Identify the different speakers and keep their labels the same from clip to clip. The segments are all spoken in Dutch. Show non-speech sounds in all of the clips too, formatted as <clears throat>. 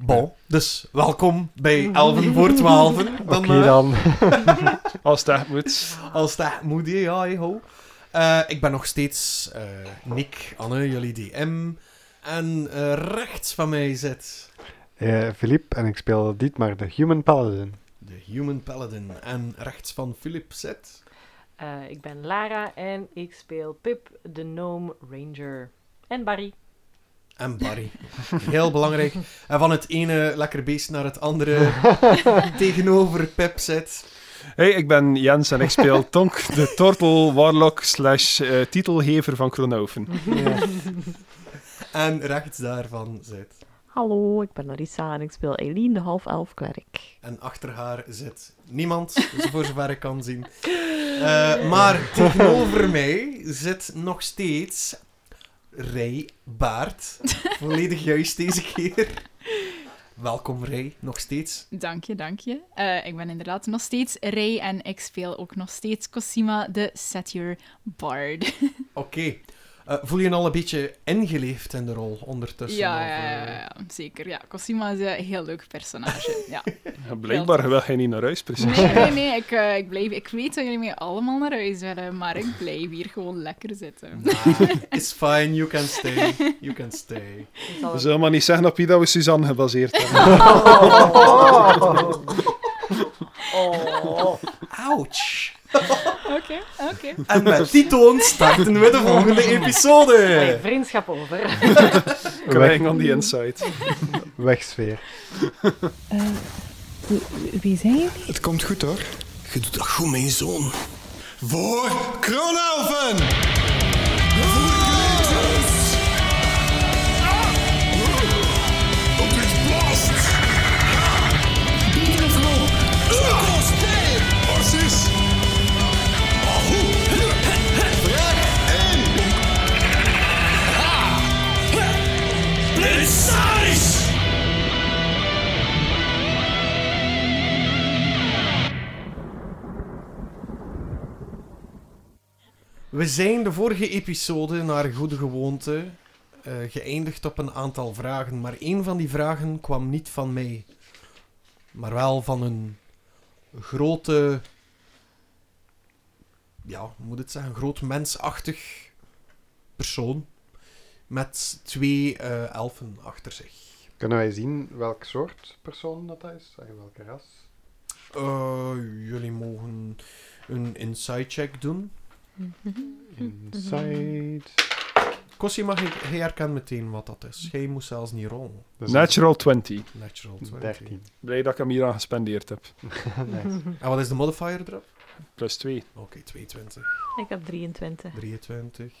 Speaker 1: Bon, dus welkom bij 11 voor 12. Dan,
Speaker 2: Oké
Speaker 1: eh,
Speaker 2: dan.
Speaker 3: <laughs> Als het echt moet.
Speaker 1: Als dat moet, hè, ja, hey, ho. Eh, ik ben nog steeds eh, Nick, Anne, jullie DM. En eh, rechts van mij zit
Speaker 2: Eh, Filip en ik speel Dietmar de Human Paladin.
Speaker 1: de Human Paladin. En rechts van Philip zit...
Speaker 4: Eh, ik ben Lara en ik speel Pip, de Gnome Ranger. En Barry.
Speaker 1: En
Speaker 2: <laughs>
Speaker 1: Barry. Heel belangrijk. En van het ene lekker beest naar het
Speaker 2: <laughs>
Speaker 1: andere tegenover Pep zit.
Speaker 3: Hey, ik ben Jens en ik
Speaker 2: <laughs>
Speaker 3: speel Tonk, de Tortel Warlock slash eh, titelgever van Kronoven.
Speaker 1: En rechts daarvan zit.
Speaker 5: Hallo, ik ben Larissa en ik speel Eileen, de half-elf klerk.
Speaker 1: En achter haar zit niemand, <laughs> dus voor zover ik kan zien. Eh, maar tegenover mij zit nog steeds Ray Baart. Volledig juist deze keer. Welkom Ray, nog steeds.
Speaker 6: Dank je, dank je. Eh, ik ben inderdaad nog steeds Ray en ik speel ook nog steeds Cosima, de Satyr Bard.
Speaker 1: Oké. Eh, voel je je al een beetje ingeleefd in de rol ondertussen?
Speaker 6: Ja,
Speaker 1: of,
Speaker 6: ja, ja,
Speaker 1: eh?
Speaker 6: ja, zeker. Ja, Cosima is een heel leuk personage. Ja.
Speaker 3: Ja, Blijkbaar wil jij niet naar huis, precies.
Speaker 6: Nee, nee, nee. Ik, eh, ik, blijf, ik weet dat jullie mij allemaal naar huis willen, maar ik blijf hier gewoon lekker zitten.
Speaker 1: Nah, it's fine, you can stay. You can stay.
Speaker 4: Zal
Speaker 3: We
Speaker 4: het-
Speaker 3: zullen maar niet zeggen op wie dat we Suzanne gebaseerd hebben.
Speaker 1: Ouch!
Speaker 6: Oké, oké.
Speaker 1: En met die toon starten we de volgende
Speaker 4: Hey,
Speaker 2: eh.
Speaker 1: episode.
Speaker 4: vriendschap over. <laughs>
Speaker 3: Crying on the inside.
Speaker 2: <laughs> Wegsfeer.
Speaker 5: Wie zijn jullie?
Speaker 7: Het komt goed hoor. Je doet dat goed, mijn zoon. Voor Kronelven! Voor Kratos! Op dit blast! Beter of no? Kratos, nee! Orsis! Ahu! Vraag één! Ha! Precies!
Speaker 1: We zijn de vorige episode naar goede gewoonte eh, geëindigd op een aantal vragen, maar één van die vragen kwam niet van mij, maar wel van een grote, ja, hoe moet het zeggen, groot mensachtig persoon met twee eh, elfen achter zich.
Speaker 2: Kunnen wij zien welk soort persoon dat dat is? En welke ras?
Speaker 1: Eh, jullie mogen een insight check doen.
Speaker 2: Inside.
Speaker 1: Kossi, mag ik, jij herkent meteen wat dat is. Jij moest zelfs niet rollen.
Speaker 2: Dat is
Speaker 3: Natural 20.
Speaker 1: Natural 20.
Speaker 2: een 13.
Speaker 3: Blij dat ik hem hier aan gespendeerd heb.
Speaker 2: <laughs> nice.
Speaker 1: En wat is de modifier erop?
Speaker 3: Plus 2.
Speaker 1: Oké, 22,
Speaker 5: Ik heb 23.
Speaker 1: 23.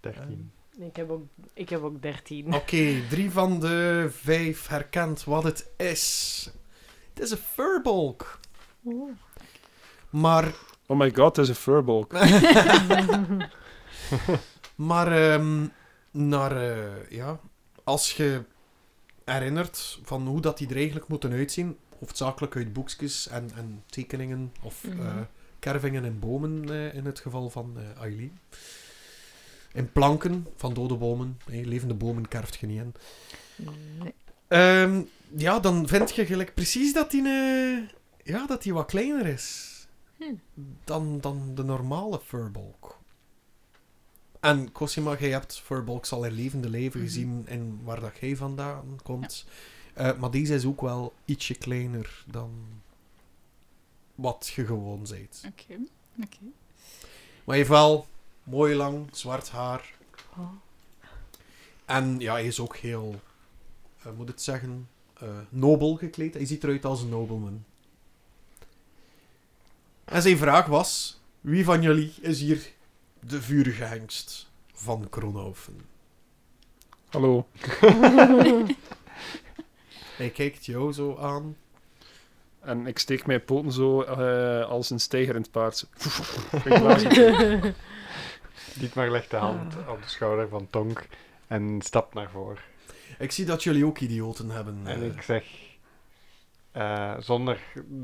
Speaker 2: 13.
Speaker 4: Ik heb ook, ik heb ook 13.
Speaker 1: Oké,
Speaker 2: Oh.
Speaker 1: drie van de vijf herkent wat het is. Het is een furbolk. Maar,
Speaker 3: Oh my god, dat is een furbolk.
Speaker 1: <laughs> maar ehm, naar, eh, ja, als je herinnert van hoe dat die er eigenlijk moeten uitzien, hoofdzakelijk uit boekjes en, en tekeningen of
Speaker 5: Mhm.
Speaker 1: eh, kervingen in bomen eh, in het geval van eh, Eileen. In planken van dode bomen. eh, levende bomen kerft je niet in.
Speaker 5: Nee.
Speaker 1: Ehm, ja, dan vind je gelijk precies dat die, eh, ja, dat die wat kleiner is
Speaker 6: Hm.
Speaker 1: dan, dan de normale furbolk. En Cosima, jij hebt furbolks al in levende leven
Speaker 6: Mhm.
Speaker 1: gezien en waar dat jij vandaan komt. Eh, maar deze is ook wel ietsje kleiner dan wat je gewoon bent.
Speaker 6: Oké, oké.
Speaker 1: Maar hij heeft wel mooi lang, zwart haar.
Speaker 5: Oh.
Speaker 1: En ja, hij is ook heel, eh, moet het zeggen, eh, nobel gekleed. Hij ziet eruit als een nobleman. En zijn vraag was, wie van jullie is hier de vurige hengst van Kronhoven?
Speaker 3: Hallo.
Speaker 1: <laughs> Hij kijkt jou zo aan.
Speaker 3: En ik steek mijn poten zo eh, als een stijgerend paard. Ik blaas het.
Speaker 2: <laughs> Dietmar legt de hand op de schouder van Tonk en stapt naar voren.
Speaker 1: Ik zie dat jullie ook idioten hebben.
Speaker 2: En
Speaker 1: eh.
Speaker 2: ik zeg, eh, zonder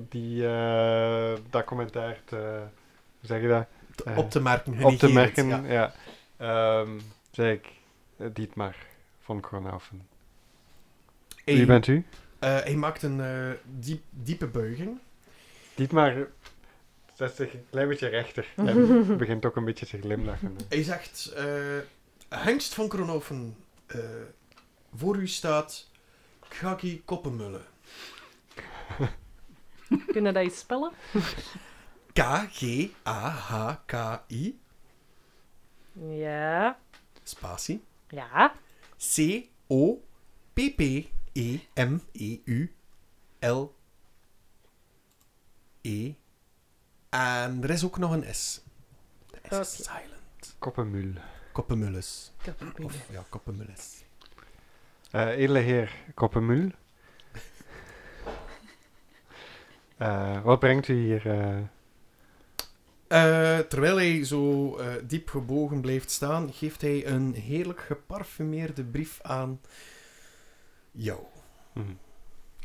Speaker 2: die, eh, dat commentaar te, hoe zeg je dat?
Speaker 1: Te-
Speaker 2: Eh,
Speaker 1: op te merken.
Speaker 2: op te
Speaker 1: genegeerd,
Speaker 2: merken,
Speaker 1: ja.
Speaker 2: ja. Ehm zeg ik, eh, Dietmar van Kronhoven.
Speaker 1: Hey,
Speaker 2: Wie bent u?
Speaker 1: eh, Eh, hij maakt een eh, diep, diepe buiging.
Speaker 2: Niet maar 60, een klein beetje rechter. En begint ook een beetje te glimlachen.
Speaker 1: Hij zegt, eh, Hengst van Kronoven, eh, voor u staat Kaki Koppenmullen.
Speaker 4: Kunnen dat iets spellen?
Speaker 1: K-G-A-H-K-I,
Speaker 4: Ja.
Speaker 1: spatie, E
Speaker 4: Ja.
Speaker 1: C-O-P-P-E-M-E-U-L-E. E. En er is ook nog een S. De S is
Speaker 4: Oké.
Speaker 1: silent.
Speaker 2: Koppenmul.
Speaker 1: Koppenmulles.
Speaker 4: Kapitein.
Speaker 1: Of ja, koppenmulles.
Speaker 2: Eh edele heer
Speaker 1: <laughs>
Speaker 2: Koppenmul. Eh, wat brengt u hier? eh?
Speaker 1: Eh, terwijl hij zo eh, diep gebogen blijft staan, geeft hij een heerlijk geparfumeerde brief aan jou.
Speaker 2: Hm.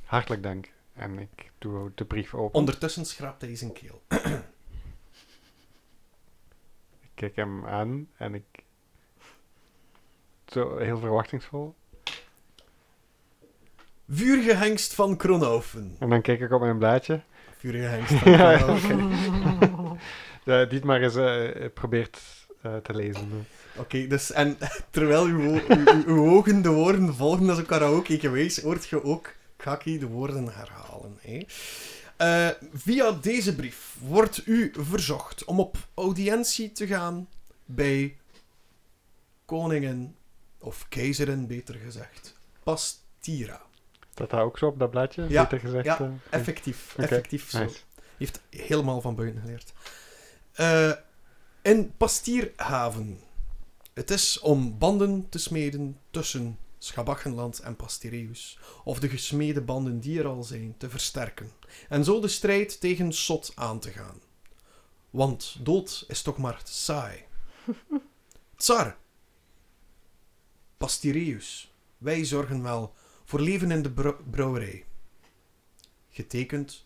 Speaker 2: Hartelijk dank. En ik doe ook de brief open.
Speaker 1: Ondertussen schraapt hij zijn keel.
Speaker 2: Ik kijk hem aan en ik... Zo, heel verwachtingsvol.
Speaker 1: Vurige hengst van Kronhoven.
Speaker 2: En dan kijk ik op mijn blaadje.
Speaker 1: Vurige hengst
Speaker 2: <laughs>
Speaker 1: van Kronhoven.
Speaker 2: Eh Dietmar is, eh, probeert eh, te lezen.
Speaker 1: Oké, dus en <laughs> terwijl uw, wo- uw- uw ogen de woorden volgen als een karaoke geweest, hoort je ook Kaki de woorden herhalen. Hè? Eh, via deze brief wordt u verzocht om op audiëntie te gaan bij koningen, of keizeren beter gezegd, Pastira.
Speaker 2: Dat daar ook zo op dat blaadje,
Speaker 1: Ja,
Speaker 2: beter gezegd.
Speaker 1: ja,
Speaker 2: eh,
Speaker 1: Effectief,
Speaker 2: Oké,
Speaker 1: effectief zo.
Speaker 2: nice.
Speaker 1: Je heeft helemaal van buiten geleerd. Eh, in Pastierhaven. Het is om banden te smeden tussen Schabachenland en Pastireus. Of de gesmede banden die er al zijn te versterken. En zo de strijd tegen Sot aan te gaan. Want dood is toch maar saai. Tsar. Pastireus. Wij zorgen wel voor leven in de brou- brouwerij. Getekend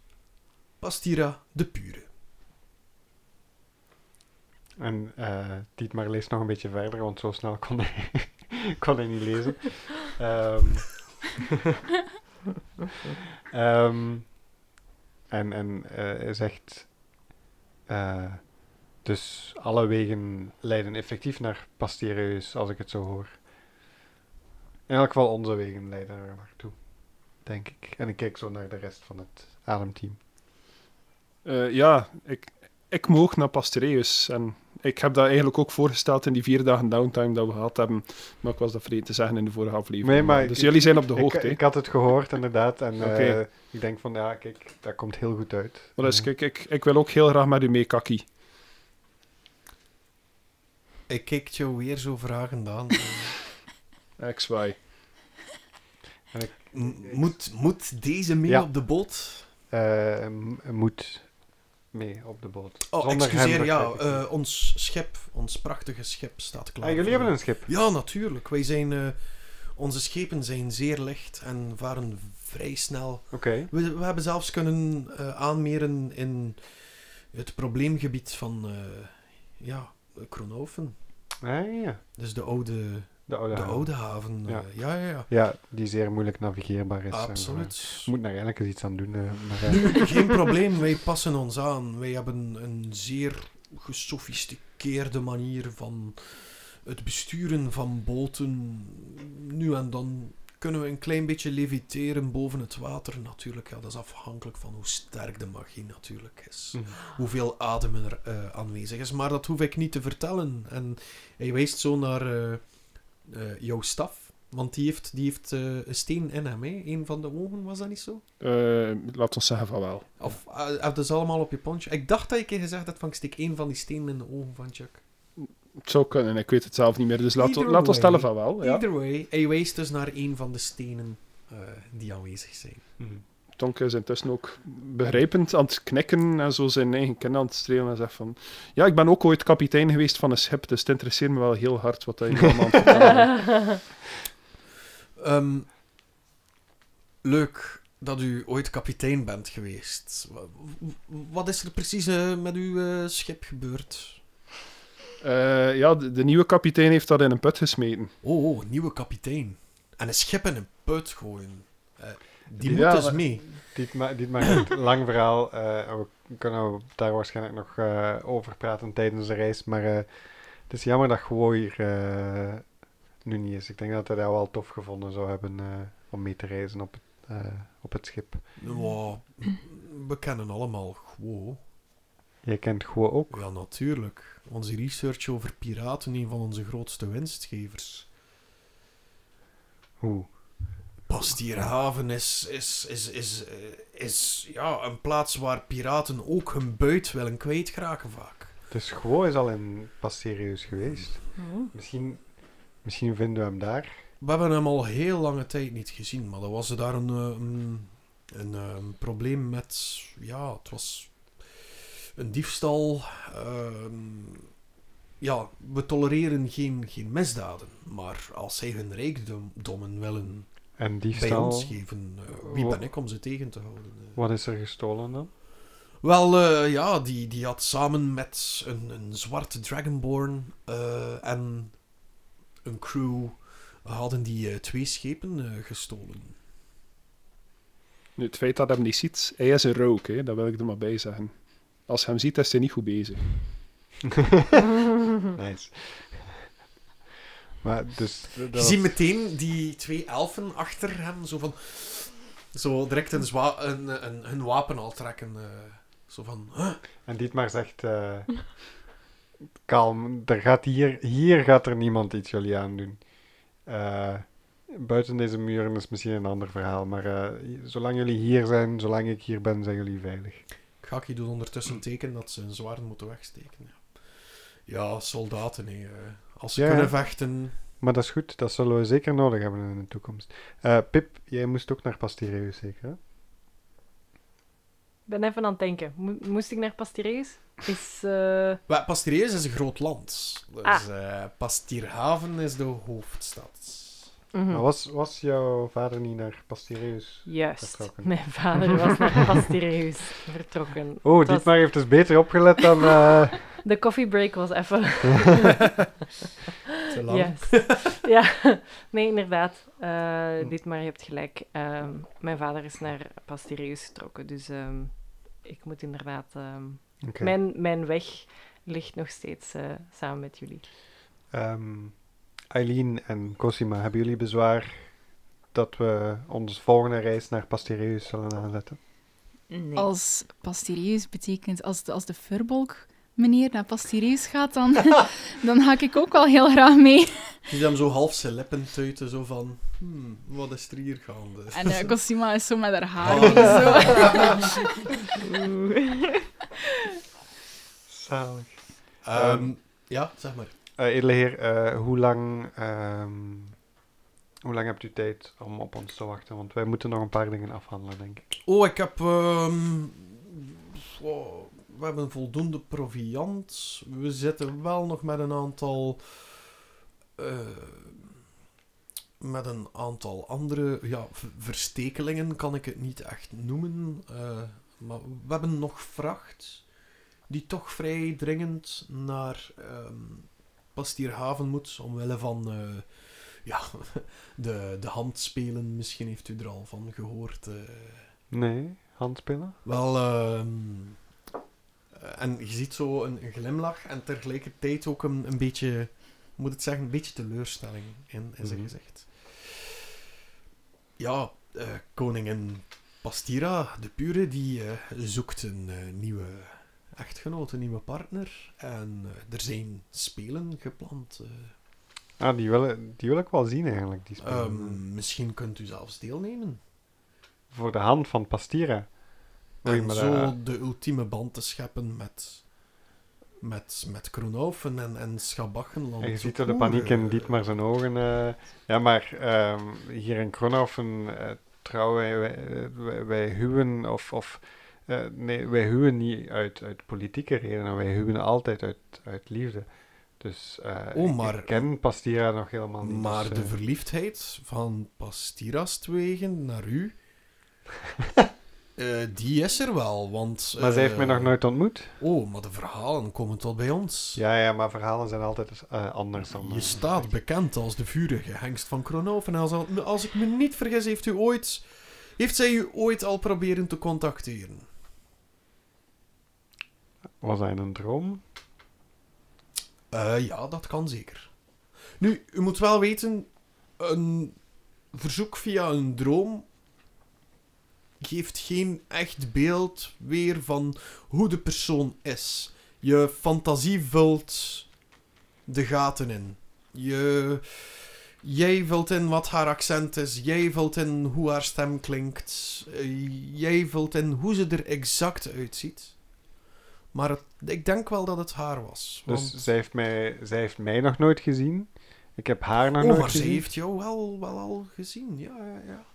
Speaker 1: Pastira de Pure.
Speaker 2: En eh Dietmar leest nog een beetje verder, want zo snel kon hij, <laughs> kon hij niet lezen. Ehm, <laughs> ehm, en en eh, hij zegt... eh, dus alle wegen leiden effectief naar Pastireus, als ik het zo hoor. In elk geval onze wegen leiden er naartoe, denk ik. En ik kijk zo naar de rest van het ademteam.
Speaker 3: Eh, ja, ik, ik moog naar Pastoreus. En ik heb dat eigenlijk ook voorgesteld in die vier dagen downtime dat we gehad hebben. Maar ik was dat vergeten te zeggen in de vorige aflevering.
Speaker 2: Nee, maar
Speaker 3: dus
Speaker 2: ik-
Speaker 3: jullie zijn op de
Speaker 2: Ik-
Speaker 3: hoogte.
Speaker 2: Ik,
Speaker 3: hè.
Speaker 2: had het gehoord, inderdaad. En
Speaker 3: Oké.
Speaker 2: eh, ik denk van, ja, kijk, dat komt heel goed uit.
Speaker 3: Maar dus,
Speaker 2: Eh,
Speaker 3: kijk, ik, ik wil ook heel graag met u mee, Kaki.
Speaker 1: Ik kijk jou weer zo vragend <laughs> aan.
Speaker 3: XY.
Speaker 1: M- moet, moet deze mee
Speaker 2: Ja.
Speaker 1: op de boot?
Speaker 2: eh, m- moet mee op de boot.
Speaker 1: Oh,
Speaker 2: Zonder
Speaker 1: excuseer,
Speaker 2: hem
Speaker 1: ja.
Speaker 2: begrijp ik niet.
Speaker 1: eh, ons schip, ons prachtige schip staat klaar.
Speaker 2: Ah, jullie
Speaker 1: voor
Speaker 2: hebben
Speaker 1: u.
Speaker 2: een schip.
Speaker 1: Ja, natuurlijk. Wij zijn, eh, onze schepen zijn zeer licht en varen vrij snel.
Speaker 2: Oké.
Speaker 1: We, we hebben zelfs kunnen eh, aanmeren in het probleemgebied van, eh ja, Kronoven.
Speaker 2: Ah, ja.
Speaker 1: Dus de oude,
Speaker 2: De oude,
Speaker 1: de
Speaker 2: haven.
Speaker 1: oude haven. eh,
Speaker 2: Ja.
Speaker 1: ja, ja, ja.
Speaker 2: Ja, die zeer moeilijk navigeerbaar is. en, eh,
Speaker 1: Absoluut.
Speaker 2: moet daar eigenlijk eens iets aan doen. eh,
Speaker 1: <laughs>
Speaker 2: maar, eh,
Speaker 1: Nu, geen probleem, wij passen ons aan. Wij hebben een zeer gesofisticeerde manier van het besturen van boten. Nu en dan kunnen we een klein beetje leviteren boven het water natuurlijk. Ja, dat is afhankelijk van hoe sterk de magie natuurlijk is.
Speaker 2: Mhm.
Speaker 1: Hoeveel adem er eh, aanwezig is. Maar dat hoef ik niet te vertellen. En hij wijst zo naar eh, eh, jouw staf. Want die heeft, die heeft eh, een steen in hem. Hè? Een van de ogen, was dat niet zo?
Speaker 3: Laten Eh, laat ons zeggen van wel.
Speaker 1: Of eh, heb je ze allemaal op je poncho? Ik dacht dat je een keer gezegd had van ik steek één van die stenen in de ogen van Chuck.
Speaker 3: Het zou kunnen, ik weet het zelf niet meer. Dus laat,
Speaker 1: Either
Speaker 3: laat ons
Speaker 1: way.
Speaker 3: stellen van wel. Oh Ja.
Speaker 1: Either way, hij wijst dus naar één van de stenen eh, die aanwezig zijn.
Speaker 2: mhm.
Speaker 3: Tonke is intussen ook begrijpend aan het knikken en zo zijn eigen kin aan het strelen en zegt van... Ja, ik ben ook ooit kapitein geweest van een schip, dus het interesseert me wel heel hard wat hij allemaal aan het vertellen is.
Speaker 1: Ehm, leuk dat u ooit kapitein bent geweest. Wa- w- Wat is er precies eh, met uw eh, schip gebeurd?
Speaker 3: Eh, ja, de, de nieuwe kapitein heeft dat in een put gesmeten.
Speaker 1: Oh, oh, nieuwe kapitein. En een schip in een put gooien. Eh, Die
Speaker 2: Ja,
Speaker 1: moet dus
Speaker 2: maar-
Speaker 1: mee.
Speaker 2: Dit, ma dit maakt het lang verhaal. eh, we kunnen daar waarschijnlijk nog eh, over praten tijdens de reis. Maar eh, het is jammer dat Gooi hier eh, nu niet is. Ik denk dat hij dat wel tof gevonden zou hebben eh, om mee te reizen op het, eh, op het schip.
Speaker 1: Nou, we kennen allemaal Guo.
Speaker 2: Jij kent Gooi ook.
Speaker 1: Ja, natuurlijk. Onze research over piraten, een van onze grootste winstgevers.
Speaker 2: Hoe?
Speaker 1: Pastierhaven is, is, is, is, eh, is ja, een plaats waar piraten ook hun buit willen kwijtraken vaak.
Speaker 2: Dus Gooi is al in Pasterius geweest.
Speaker 5: Oh,
Speaker 2: Misschien, misschien vinden we hem daar.
Speaker 1: We hebben hem al heel lange tijd niet gezien, maar dan was er daar een, eh, een, een, eh, een probleem met. Ja, het was een diefstal. ehm, ja, we tolereren geen, geen misdaden, maar als zij hun rijkdommen willen bij
Speaker 2: En diefstal.
Speaker 1: ons geven, eh,
Speaker 2: Oh.
Speaker 1: wie ben ik om ze tegen te houden? eh?
Speaker 2: Wat is er gestolen dan?
Speaker 1: Wel, eh, ja, die, die had samen met een, een zwarte Dragonborn eh, en een crew hadden die eh, twee schepen eh, gestolen.
Speaker 3: Nu, het feit dat hij hem niet ziet, hij is een rook, hè, dat wil ik er maar bij zeggen. Als hij hem ziet, is hij niet goed bezig.
Speaker 1: Hm.
Speaker 2: Nice. <laughs> maar dus. d- dat
Speaker 1: Je
Speaker 2: was-
Speaker 1: ziet meteen die twee elfen achter hem, zo van... Zo direct een zwa- een, een, hun wapen al trekken. eh, zo van... huh?
Speaker 2: En Dietmar zegt... eh, kalm, er gaat hier, hier gaat er niemand iets jullie aandoen. Eh, buiten deze muren is misschien een ander verhaal, maar eh, hi- zolang jullie hier zijn, zolang ik hier ben, zijn jullie veilig.
Speaker 1: Gaki doet
Speaker 2: Hmm.
Speaker 1: ondertussen een teken dat ze hun zwaarden moeten wegsteken. Ja, ja soldaten, hè, eh, als ze
Speaker 2: Ja, ja.
Speaker 1: kunnen vechten...
Speaker 2: Maar dat is goed, dat zullen we zeker nodig hebben in de toekomst. Eh, Pip, jij moest ook naar Pastireus zeker, hè?
Speaker 4: ben even aan het denken. Mo- moest ik naar Pastireus? Is... eh,
Speaker 1: Wel, Pastireus is een groot land. Dus
Speaker 4: Ah.
Speaker 1: eh, Pastierhaven is de hoofdstad.
Speaker 4: mhm.
Speaker 2: Maar was, was jouw vader niet naar Pastireus?
Speaker 4: Juist.
Speaker 2: Vertrokken.
Speaker 4: Mijn vader was
Speaker 2: <laughs>
Speaker 4: naar Pastireus vertrokken.
Speaker 2: Oh,
Speaker 4: Het was-
Speaker 2: Dietmar heeft dus beter opgelet dan... eh,
Speaker 4: <laughs> De koffiebreak was even...
Speaker 1: Te lang.
Speaker 4: Yes. ja, nee, inderdaad. Eh dit maar, je hebt gelijk. Ehm, mijn vader is naar Pastireus getrokken, dus ehm, ik moet inderdaad... ehm,
Speaker 2: oké.
Speaker 4: mijn, mijn weg ligt nog steeds eh, samen met jullie.
Speaker 2: Ehm, Eileen en Cosima, hebben jullie bezwaar dat we onze volgende reis naar Pastireus zullen aanzetten?
Speaker 5: Nee.
Speaker 6: Als Pastireus betekent, als de, als de furbolk meneer naar Pastireus gaat, dan, dan haak ik ook wel heel graag mee.
Speaker 1: Je ziet hem zo half zijn lippen tuiten, zo van... Hmm, wat is er hier gaande?
Speaker 6: En
Speaker 1: <laughs>
Speaker 6: eh, Cosima is zo met haar haar.
Speaker 1: Oh.
Speaker 6: Zo.
Speaker 2: Zalig.
Speaker 1: Ehm, ja, zeg maar.
Speaker 2: edele heer, eh, hoe, lang, ehm, hoe lang hebt u tijd om op ons te wachten? Want wij moeten nog een paar dingen afhandelen, denk ik.
Speaker 1: Oh, ik heb... ehm, oh, we hebben voldoende proviand. We zitten wel nog met een aantal... eh, met een aantal andere... Ja, v- verstekelingen kan ik het niet echt noemen. eh, maar we hebben nog vracht. Die toch vrij dringend naar ehm Pastierhaven moet. Omwille van... eh, ja, <laughs> de, de handspelen. Misschien heeft u er al van gehoord. eh.
Speaker 2: Nee, handspinnen?
Speaker 1: Wel, ehm, en je ziet zo een, een glimlach en tegelijkertijd ook een, een beetje, hoe moet ik het zeggen, een beetje teleurstelling in, in zijn
Speaker 2: Mhm.
Speaker 1: gezicht. Ja, eh, koningin Pastira, de pure, die eh, zoekt een eh, nieuwe echtgenoot, een nieuwe partner. En eh, er zijn spelen gepland. eh.
Speaker 2: Ah, die wil, die wil ik wel zien eigenlijk, die spelen.
Speaker 1: Ehm, misschien kunt u zelfs deelnemen.
Speaker 2: Voor de hand van Pastira. Oei,
Speaker 1: En
Speaker 2: maar
Speaker 1: zo
Speaker 2: dat-
Speaker 1: de ultieme band te scheppen met, met, met Kroonhoven en, en Schabachenland.
Speaker 2: En je
Speaker 1: Zo
Speaker 2: ziet er de
Speaker 1: cool,
Speaker 2: paniek in
Speaker 1: eh.
Speaker 2: Dietmar zijn ogen. eh. ja, maar ehm, hier in Kronhoven eh, trouwen wij, wij- wij, wij huwen of... of eh, nee, wij huwen niet uit, uit politieke redenen. Wij huwen altijd uit, uit liefde. Dus eh,
Speaker 1: Oh,
Speaker 2: ik- ik,
Speaker 1: maar-
Speaker 2: ken Pastira nog helemaal niet.
Speaker 1: Maar
Speaker 2: dus,
Speaker 1: de
Speaker 2: eh,
Speaker 1: verliefdheid van Pastiras wegen naar
Speaker 2: <laughs>
Speaker 1: u, eh, die is er wel, want...
Speaker 2: maar zij heeft mij
Speaker 1: eh,
Speaker 2: nog nooit ontmoet.
Speaker 1: Oh, maar de verhalen komen tot bij ons.
Speaker 2: Ja, ja, maar verhalen zijn altijd eh, anders dan...
Speaker 1: Je
Speaker 2: eh,
Speaker 1: staat bekend als de vurige hengst van Kroonhoven. Als, als ik me niet vergis, heeft u ooit Heeft zij u ooit al proberen te contacteren?
Speaker 2: Was dat in een droom?
Speaker 1: Eh, ja, dat kan zeker. Nu, u moet wel weten, een verzoek via een droom geeft geen echt beeld weer van hoe de persoon is. Je fantasie vult de gaten in. Je, jij vult in wat haar accent is, jij vult in hoe haar stem klinkt, eh, jij vult in hoe ze er exact uitziet. Maar het- ik denk wel dat het haar was.
Speaker 2: Dus
Speaker 1: want-
Speaker 2: zij, heeft mij, zij heeft mij nog nooit gezien. Ik heb haar nog
Speaker 1: Oh,
Speaker 2: nooit
Speaker 1: maar ze
Speaker 2: gezien.
Speaker 1: heeft jou wel, wel al gezien. Ja, ja, ja.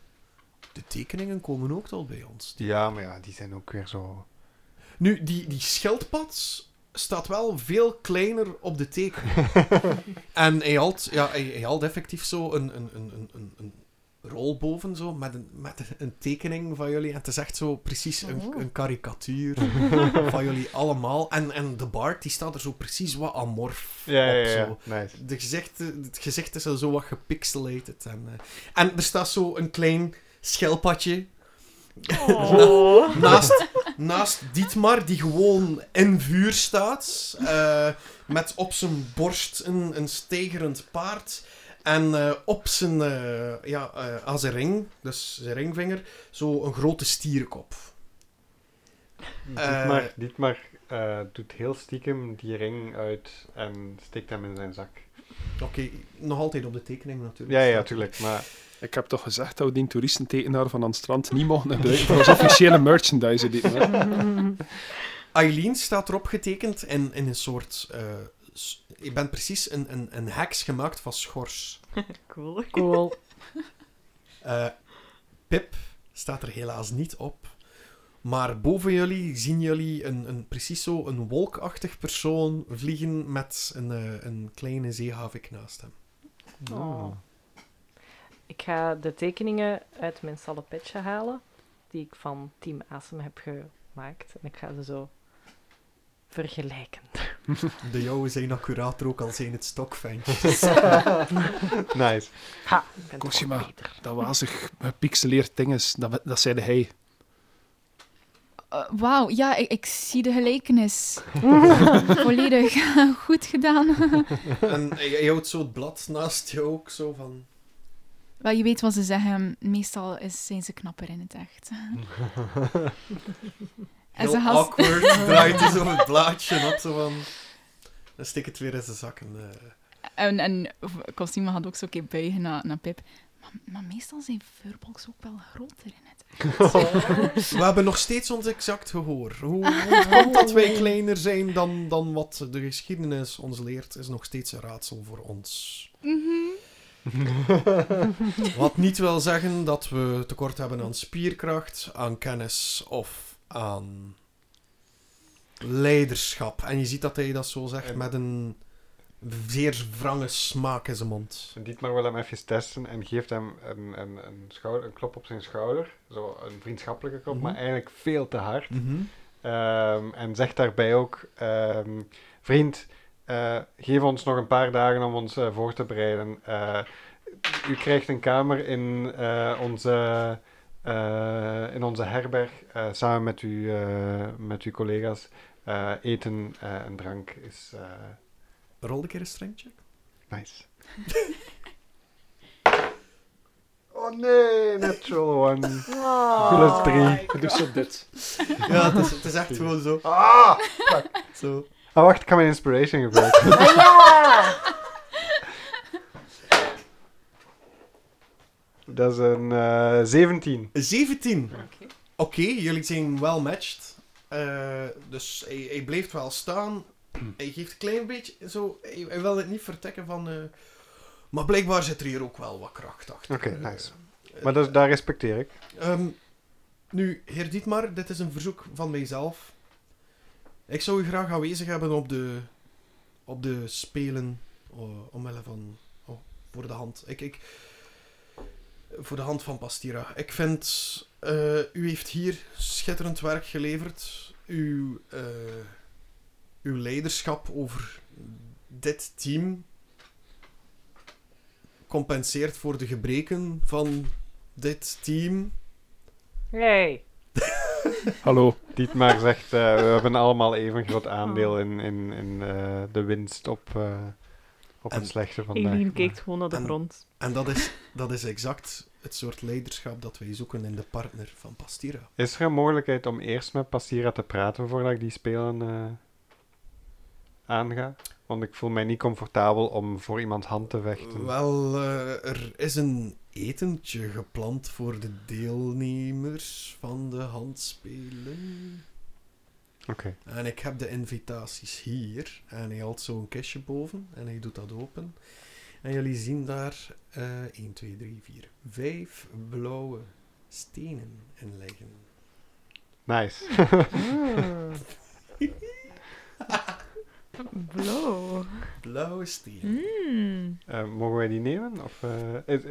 Speaker 1: De tekeningen komen ook al bij ons.
Speaker 2: Ja, maar ja, die zijn ook weer zo...
Speaker 1: Nu, die, die schildpad staat wel veel kleiner op de
Speaker 2: <laughs>
Speaker 1: teken. en hij had, ja, hij, hij had effectief zo een, een, een, een, een, een rol boven, zo, met, een, met een tekening van jullie. En het is echt zo precies een,
Speaker 5: Oh.
Speaker 1: een karikatuur
Speaker 2: <laughs>
Speaker 1: van jullie allemaal. En, en de Bart, die staat er zo precies wat amorf
Speaker 2: Ja,
Speaker 1: op.
Speaker 2: ja, ja.
Speaker 1: Zo.
Speaker 2: Nice.
Speaker 1: De gezichten, het gezicht is al zo wat gepixelated. En, eh, en er staat zo een klein schelpadje <laughs>
Speaker 4: Oh.
Speaker 1: naast, naast Dietmar, die gewoon in vuur staat. eh, met op zijn borst een, een stegerend paard. En eh, op zijn, eh, ja, eh, aan zijn ring, dus zijn ringvinger, zo een grote stierenkop. Eh.
Speaker 2: Dietmar, Dietmar eh, doet heel stiekem die ring uit en steekt hem in zijn zak.
Speaker 1: Oké, nog altijd op de tekening natuurlijk.
Speaker 2: Ja, ja, tuurlijk. Maar
Speaker 3: Ik heb toch gezegd dat we die toeristentekenaar van aan het strand niet mogen gebruiken voor als officiële merchandise. Die,
Speaker 1: Eileen staat erop getekend in, in een soort... eh, s- ik ben precies een, een, een heks gemaakt van schors.
Speaker 5: Cool.
Speaker 4: Cool.
Speaker 1: Eh, Pip staat er helaas niet op. Maar boven jullie zien jullie een, een, precies zo een wolkachtig persoon vliegen met een, eh, een kleine zeehavik naast hem.
Speaker 4: Oh. Ik ga de tekeningen uit mijn salopetje halen, die ik van Team Asem heb gemaakt. En ik ga ze zo vergelijken.
Speaker 1: De jouwe zijn accurater ook al zijn het stokfijn.
Speaker 2: nice.
Speaker 4: Ha, ik ben toch
Speaker 3: Cosima. <laughs>
Speaker 4: beter.
Speaker 3: dat wazig gepixeleerd ding is, dat, dat zeide hij.
Speaker 6: Eh, Wauw, ja, ik, ik zie de gelijkenis. Volledig <laughs> goed gedaan.
Speaker 1: en hij hij houdt zo het blad naast je ook zo van...
Speaker 6: Wel, je weet wat ze zeggen. Meestal is, zijn ze knapper in het echt. en
Speaker 1: Heel
Speaker 6: ze had... <laughs>
Speaker 1: awkward draait hij zo het blaadje op zo van... Dan stik het weer in zijn zak en... eh,
Speaker 6: En, en Cosima had ook zo'n keer buigen naar, naar Pip. Maar, maar meestal zijn furbolgs ook wel groter in het
Speaker 1: We hebben nog steeds ons exact gehoor. Hoe, hoe
Speaker 6: <laughs>
Speaker 1: het komt dat wij kleiner zijn dan, dan wat de geschiedenis ons leert, is nog steeds een raadsel voor ons.
Speaker 6: Mhm.
Speaker 1: Wat niet wil zeggen dat we tekort hebben aan spierkracht, aan kennis of aan leiderschap. En je ziet dat hij dat zo zegt met een zeer wrange smaak in zijn mond.
Speaker 2: Dietmar wil hem even testen en geeft hem een, een, een, schouder, een klop op zijn schouder. Zo een vriendschappelijke klop,
Speaker 1: Mhm.
Speaker 2: maar eigenlijk veel te hard. Ehm, en zegt daarbij ook: ehm, Vriend, eh, geef ons nog een paar dagen om ons eh, voor te bereiden. Eh, u krijgt een kamer in, eh, onze, eh, in onze herberg eh, samen met, u, eh, met uw collega's. Eh, eten eh, en drank is eh,
Speaker 1: Rol een keer een strengtje.
Speaker 2: nice. oh nee, natural one. Plus drie.
Speaker 3: Dus zo dit.
Speaker 1: Ja, het is, het is echt gewoon zo.
Speaker 2: Ah!
Speaker 1: zo.
Speaker 2: Ah, wacht, ik kan mijn inspiration gebruiken. Dat is een eh 17.
Speaker 1: 17. Oké, jullie zijn wel matched. Eh, dus hij, hij blijft wel staan. Hij geeft een klein beetje zo. Hij, hij wil het niet vertekken van. eh, maar blijkbaar zit er hier ook wel wat kracht achter.
Speaker 2: Oké,
Speaker 1: Eh,
Speaker 2: nice. Maar dat, daar respecteer ik.
Speaker 1: Ehm, nu, heer Dietmar, dit is een verzoek van mijzelf. Ik zou u graag aanwezig hebben op de, op de spelen. om omwille van... oh, voor de hand. Ik, ik, voor de hand van Pastira. Ik vind... eh, u heeft hier schitterend werk geleverd. Uw, eh, uw leiderschap over dit team compenseert voor de gebreken van dit team.
Speaker 4: Hey.
Speaker 3: Hallo.
Speaker 2: Dietmar zegt, eh, we hebben allemaal even groot aandeel in, in, in eh, de winst op, eh, op
Speaker 1: En-
Speaker 2: het slechte vandaag.
Speaker 5: Eline
Speaker 2: maar-
Speaker 5: kijkt gewoon naar de
Speaker 1: En-
Speaker 5: grond.
Speaker 1: En dat is, dat is exact het soort leiderschap dat wij zoeken in de partner van Pastira.
Speaker 2: Is er een mogelijkheid om eerst met Passira te praten voordat ik die spelen eh, aanga? Want ik voel mij niet comfortabel om voor iemands hand te vechten.
Speaker 1: Wel, eh, er is een etentje gepland voor de deelnemers van de handspelen.
Speaker 2: Oké.
Speaker 1: En ik heb de invitaties hier. En hij haalt zo'n kistje boven en hij doet dat open. En jullie zien daar eh 1, 2, 3, 4, 5 blauwe stenen in liggen.
Speaker 2: Nice.
Speaker 4: Hmm.
Speaker 5: Blow.
Speaker 1: Blauwe stenen.
Speaker 5: Mm.
Speaker 2: Eh, mogen wij die nemen? Of, eh, is,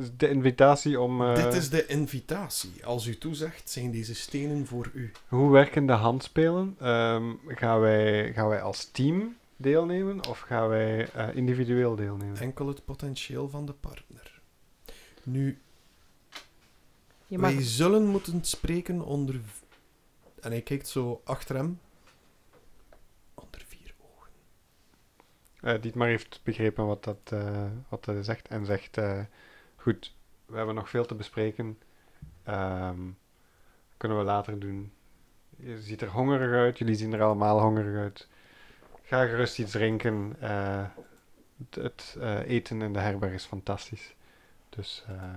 Speaker 2: is de invitatie om... eh,
Speaker 1: Dit is de invitatie. Als u toezegt, zijn deze stenen voor u.
Speaker 2: Hoe werken de handspelen? Ehm, gaan, wij, gaan wij als team deelnemen of gaan wij eh, individueel deelnemen?
Speaker 1: Enkel het potentieel van de partner. Nu,
Speaker 4: Je mag
Speaker 1: wij zullen moeten spreken onder... v- En hij kijkt zo achter hem. Onder vier ogen.
Speaker 2: Eh, Dietmar heeft begrepen wat dat, eh, wat dat is echt en zegt: eh, Goed, we hebben nog veel te bespreken. Ehm, kunnen we later doen. Je ziet er hongerig uit, jullie zien er allemaal hongerig uit. Ga gerust iets drinken. eh, het het eh, eten in de herberg is fantastisch. Dus eh,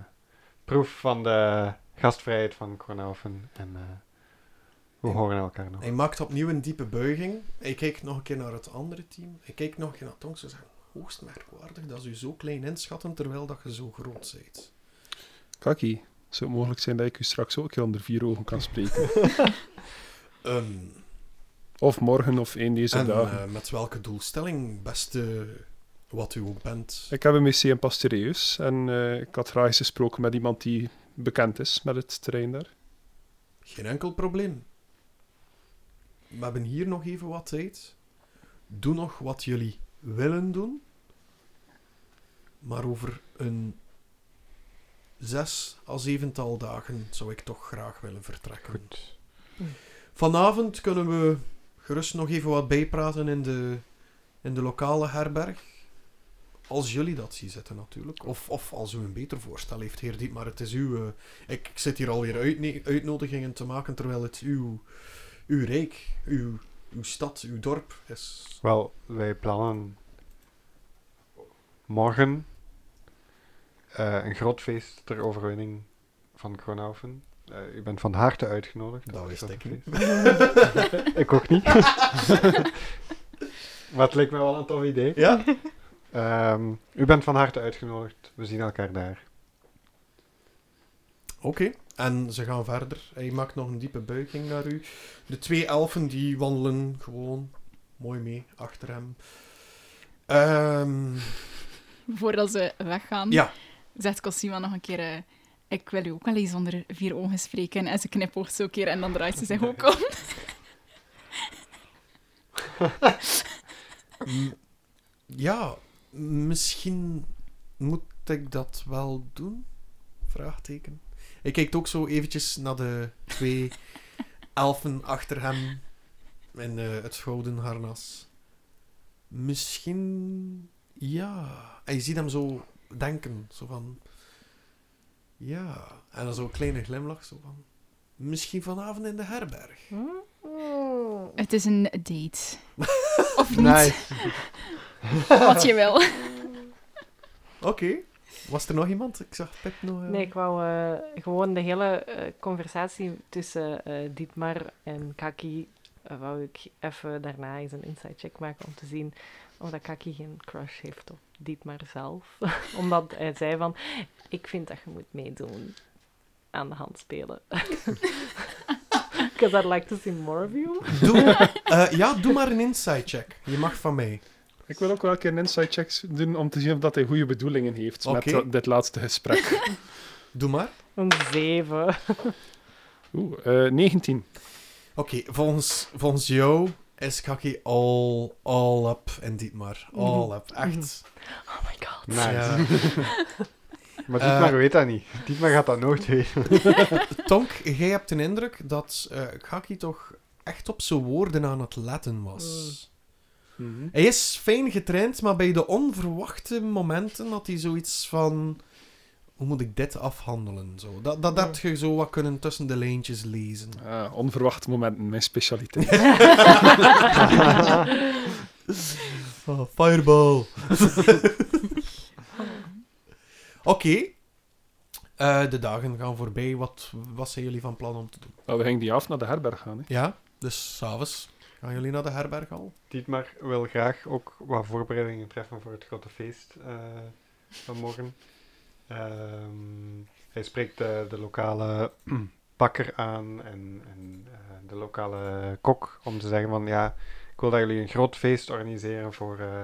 Speaker 2: proef van de gastvrijheid van Cornelven en eh, we
Speaker 1: Ja.
Speaker 2: horen elkaar nog.
Speaker 1: Hij maakt opnieuw een diepe buiging. Hij kijkt nog een keer naar het andere team. Hij kijkt nog een keer naar Tonks en zegt... Hoogst merkwaardig dat ze u zo klein inschatten terwijl dat je zo groot bent.
Speaker 3: Kaki, zou het mogelijk zijn dat ik u straks ook een keer onder vier ogen kan spreken? <laughs>
Speaker 1: Ehm,
Speaker 3: Of morgen of één deze
Speaker 1: en
Speaker 3: dagen.
Speaker 1: eh, met welke doelstelling, beste wat u ook bent?
Speaker 3: Ik heb een missie in Pastoreus en eh, ik had graag eens gesproken met iemand die bekend is met het terrein daar.
Speaker 1: Geen enkel probleem. We hebben hier nog even wat tijd. Doe nog wat jullie willen doen. Maar over een zes à zevental dagen zou ik toch graag willen vertrekken.
Speaker 2: Goed.
Speaker 1: Vanavond kunnen we gerust nog even wat bijpraten in de, in de lokale herberg. Als jullie dat zien zitten natuurlijk. Of, of als u een beter voorstel heeft, heer Dietmar. Het is uw... eh, ik, ik zit hier alweer uitne- uitnodigingen te maken, terwijl het uw, uw rijk, uw, uw stad, uw dorp is.
Speaker 2: Wel, wij plannen morgen eh, een groot feest ter overwinning van Kronaufen. Eh, u bent van harte uitgenodigd.
Speaker 1: Dat wist
Speaker 2: is
Speaker 1: ik
Speaker 2: een
Speaker 1: niet.
Speaker 2: feest. <laughs> ik ook niet. maar het leek me wel een tof idee.
Speaker 1: Ja?
Speaker 2: Ehm, u bent van harte uitgenodigd. We zien elkaar daar.
Speaker 1: <laughs> Oké. En ze gaan verder. Hij maakt nog een diepe buiging naar u. De twee elfen die wandelen gewoon mooi mee achter hem. Ehm...
Speaker 6: Voordat ze weggaan,
Speaker 1: Ja.
Speaker 6: zegt Cosima nog een keer... eh, ik wil u ook wel eens onder vier ogen spreken. En ze knipoogt zo een keer en dan draait ze zich ook om.
Speaker 1: M- Ja, misschien moet ik dat wel doen? Vraagteken. Hij kijkt ook zo eventjes naar de twee elfen achter hem in eh, het gouden harnas. Misschien, ja. En je ziet hem zo denken, zo van, ja. En dan zo'n kleine glimlach, zo van, misschien vanavond in de herberg.
Speaker 4: Hmm.
Speaker 6: Het is een date. Of niet, wat je <laughs> wil.
Speaker 1: Oké. Was er nog iemand? Ik zag Pep nog... eh,
Speaker 4: Nee, ik wou eh, gewoon de hele eh, conversatie tussen eh, Dietmar en Kaki. eh, wou ik even daarna eens een inside check maken om te zien of dat Kaki geen crush heeft op Dietmar zelf. <laughs> Omdat hij zei van: Ik vind dat je moet meedoen aan de hand <laughs> spelen. Because I'd like to see more of you.
Speaker 1: Doe, eh, ja, doe maar een inside check. Je mag van mij.
Speaker 3: Ik wil ook wel een keer een inside check doen om te zien of dat hij goede bedoelingen heeft met
Speaker 1: Oké.
Speaker 3: dat- dit laatste gesprek. <laughs>
Speaker 1: Doe maar.
Speaker 4: Een zeven. <laughs>
Speaker 3: Oeh, eh, 19.
Speaker 1: Oké, volgens, volgens jou is Kaki all, all up in Dietmar. All up, echt.
Speaker 2: Mhm.
Speaker 4: Oh my god.
Speaker 2: Nice.
Speaker 1: Ja.
Speaker 2: Maar
Speaker 1: Eh,
Speaker 2: Dietmar weet dat niet. Dietmar gaat dat nooit weten.
Speaker 1: Tonk, jij hebt de indruk dat eh Kaki toch echt op zijn woorden aan het letten was. Hij is fijn getraind, maar bij de onverwachte momenten had hij zoiets van... Hoe moet ik dit afhandelen? Zo. Dat, dat heb je zo wat kunnen tussen de lijntjes lezen.
Speaker 3: Ah, onverwachte momenten, mijn specialiteit.
Speaker 1: Ah, fireball. Oké. Eh, de dagen gaan voorbij. Wat, wat zijn jullie van plan om te doen?
Speaker 3: Nou, we gingen die avond naar de herberg gaan. Hè.
Speaker 1: Ja, dus s'avonds gaan jullie naar de herberg al?
Speaker 2: Dietmar wil graag ook wat voorbereidingen treffen voor het grote feest eh, van morgen. Ehm, hij spreekt eh, de lokale <clears throat> bakker aan en, en eh, de lokale kok om te zeggen van ja, ik wil dat jullie een groot feest organiseren voor, eh,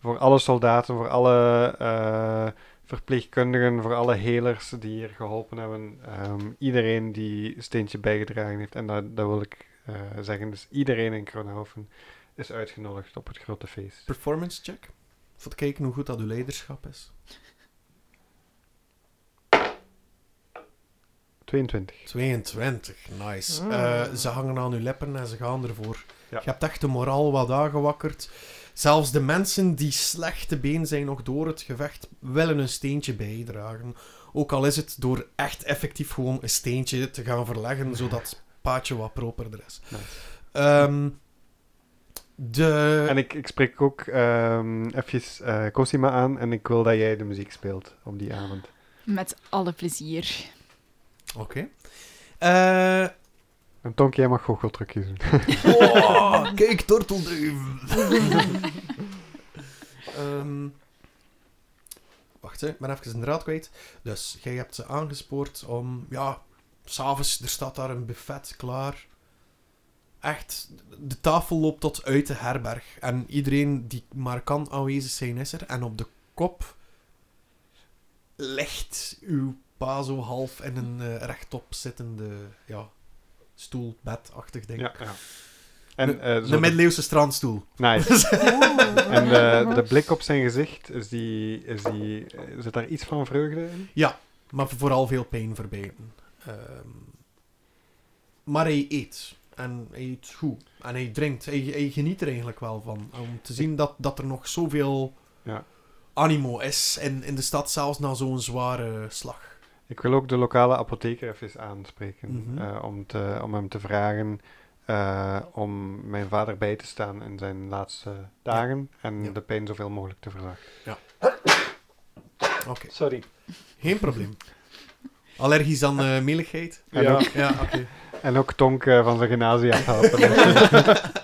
Speaker 2: voor alle soldaten, voor alle eh, verpleegkundigen, voor alle helers die hier geholpen hebben. Ehm, iedereen die steentje bijgedragen heeft. En dat, dat wil ik eh, zeggen. Dus iedereen in Kronhoven is uitgenodigd op het grote feest.
Speaker 1: Performance check. Voor te kijken hoe goed dat uw leiderschap is.
Speaker 2: 22.
Speaker 1: 22, nice.
Speaker 4: Mm.
Speaker 1: Eh, ze hangen aan uw lippen en ze gaan ervoor.
Speaker 2: Ja.
Speaker 1: Je hebt echt de moraal wat aangewakkerd. Zelfs de mensen die slecht te been zijn nog door het gevecht, willen een steentje bijdragen. Ook al is het door echt effectief gewoon een steentje te gaan verleggen, zodat het paadje wat properder is.
Speaker 2: Nice.
Speaker 1: Ehm, de...
Speaker 2: En ik, ik spreek ook ehm even eh, Cosima aan en ik wil dat jij de muziek speelt op die avond.
Speaker 6: Met alle plezier.
Speaker 1: Oké. Eh,
Speaker 2: En Tonk, jij mag goocheltrucjes doen.
Speaker 1: Oh, kijk, tortelduif. Ehm, wacht, hè. ik ben even een draad kwijt. Dus, jij hebt ze aangespoord om... Ja, s'avonds, er staat daar een buffet klaar. Echt, de tafel loopt tot uit de herberg. En iedereen die maar kan aanwezig zijn, is er. En op de kop ligt uw pa zo half in een eh, rechtop zittende... Ja, stoel, bedachtig ding.
Speaker 2: Ja, ja. En, eh, zo
Speaker 1: De middeleeuwse strandstoel. <laughs>
Speaker 2: Nice. en eh, de blik op zijn gezicht, is die, is die, eh, zit daar iets van vreugde in?
Speaker 1: Maar vooral veel pijn verbeten. Ehm, maar hij eet. En hij eet goed. En hij drinkt. Hij, hij geniet er eigenlijk wel van. Om te zien dat, dat er nog zoveel
Speaker 2: Ja.
Speaker 1: animo is in, in de stad, zelfs na zo'n zware slag.
Speaker 2: Ik wil ook de lokale apotheker even aanspreken.
Speaker 1: Mhm.
Speaker 2: eh, om, te, om hem te vragen eh, om mijn vader bij te staan in zijn laatste dagen. En
Speaker 1: Ja.
Speaker 2: de pijn zoveel mogelijk te verlagen.
Speaker 1: Oké,
Speaker 3: Sorry.
Speaker 1: geen probleem. Allergisch aan eh, meligheid?
Speaker 2: En,
Speaker 3: Ja.
Speaker 2: ook,
Speaker 1: Ja, oké.
Speaker 2: en ook Tonk eh, van zijn gymnasium afhelpen.
Speaker 1: <laughs>
Speaker 2: <laughs>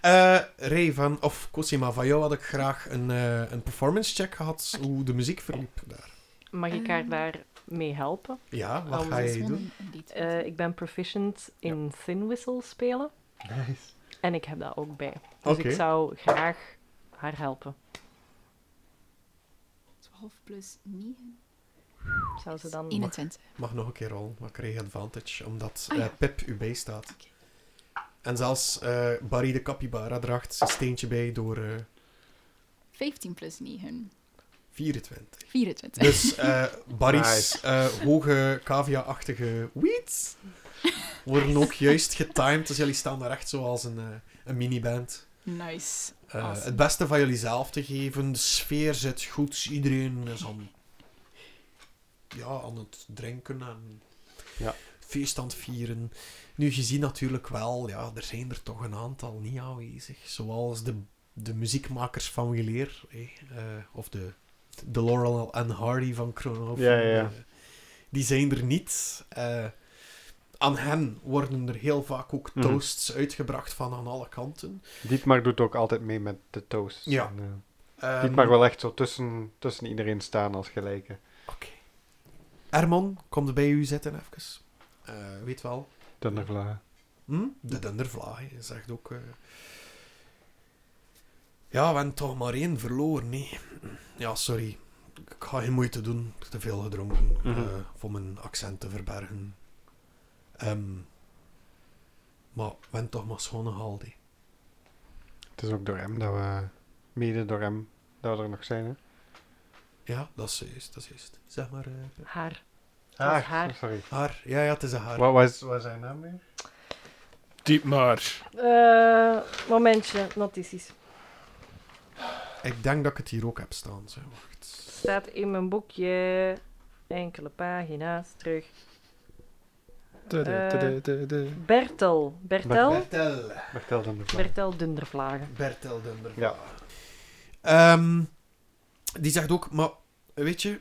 Speaker 1: Eh, Ray van, of Cosima, van jou had ik graag een, eh, een performance check gehad. Hoe de muziek verliep daar.
Speaker 4: Mag ik
Speaker 6: Eh.
Speaker 4: haar daar mee helpen?
Speaker 1: Ja, wat
Speaker 4: Oh,
Speaker 1: ga
Speaker 4: dat
Speaker 1: je doen?
Speaker 4: Eh, ik ben proficient in thin whistle spelen.
Speaker 2: nice.
Speaker 4: En ik heb dat ook bij. Dus
Speaker 1: Oké.
Speaker 4: ik zou graag haar helpen.
Speaker 6: 12 plus 9.
Speaker 4: Zou ze dan...
Speaker 6: 21.
Speaker 1: Mag nog een keer rollen, maar ik kreeg advantage, omdat
Speaker 6: Ah, ja.
Speaker 1: eh, Pip u bijstaat.
Speaker 6: Oké.
Speaker 1: En zelfs eh, Barry de capybara draagt zijn steentje bij door eh,
Speaker 6: 15 plus 9.
Speaker 1: 24.
Speaker 6: 24.
Speaker 1: Dus
Speaker 6: <laughs>
Speaker 1: eh Barry's
Speaker 2: Nice.
Speaker 1: eh, hoge cavia-achtige
Speaker 6: <laughs>
Speaker 1: weeds worden ook juist getimed, dus jullie staan daar echt zoals een, eh, een miniband.
Speaker 6: Nice.
Speaker 1: Eh,
Speaker 6: Awesome.
Speaker 1: Het beste van jullie zelf te geven, de sfeer zit goed, iedereen is aan, ja, aan het drinken en
Speaker 2: Ja.
Speaker 1: feest aan het vieren. Nu, je ziet natuurlijk wel, ja, er zijn er toch een aantal niet aanwezig. Zoals de, de muziekmakers van Willeer, eh, eh, of de, de Laurel en Hardy van Kronhof.
Speaker 2: Ja, ja, ja.
Speaker 1: die zijn er niet. Eh, aan hen worden er heel vaak ook
Speaker 2: Mhm.
Speaker 1: toasts uitgebracht van aan alle kanten.
Speaker 2: Dietmar doet ook altijd mee met de toast.
Speaker 1: Ja.
Speaker 2: En, eh,
Speaker 1: Ehm,
Speaker 2: Dietmar wil echt zo tussen, tussen iedereen staan als gelijke.
Speaker 1: Oké. Ermon, kom er bij u zitten even. Eh, weet wel.
Speaker 2: Dundervlaag.
Speaker 1: Hm? De dundervlaai zegt ook. eh, Ja, we hebben toch maar één verloren, nee. Ja, sorry. Ik ga geen moeite doen. Ik heb te veel gedronken eh,
Speaker 2: Mhm.
Speaker 1: om mijn accent te verbergen. Ehm, maar we hebben toch maar schone halde.
Speaker 2: Het is ook door hem dat we, mede door hem, dat we er nog zijn. Hè?
Speaker 1: Ja, dat is juist, dat is juist. Zeg maar... eh,
Speaker 4: Haar.
Speaker 2: Ah,
Speaker 4: haar.
Speaker 2: sorry.
Speaker 1: haar. Ja, ja, het is een haar.
Speaker 2: Wat was, was zijn naam weer?
Speaker 3: Diep maar.
Speaker 4: Eh, momentje, notities.
Speaker 1: Ik denk dat ik het hier ook heb staan. Zeg. Wacht.
Speaker 4: Staat in mijn boekje. Enkele pagina's terug.
Speaker 3: Tudu, tudu, tudu.
Speaker 4: Bertel. Bertel?
Speaker 1: Bertel.
Speaker 2: Vertel dan de vraag.
Speaker 4: Bertel Dundervlagen.
Speaker 1: Bertel Dunder.
Speaker 2: Ja.
Speaker 1: Ehm, die zegt ook, maar weet je,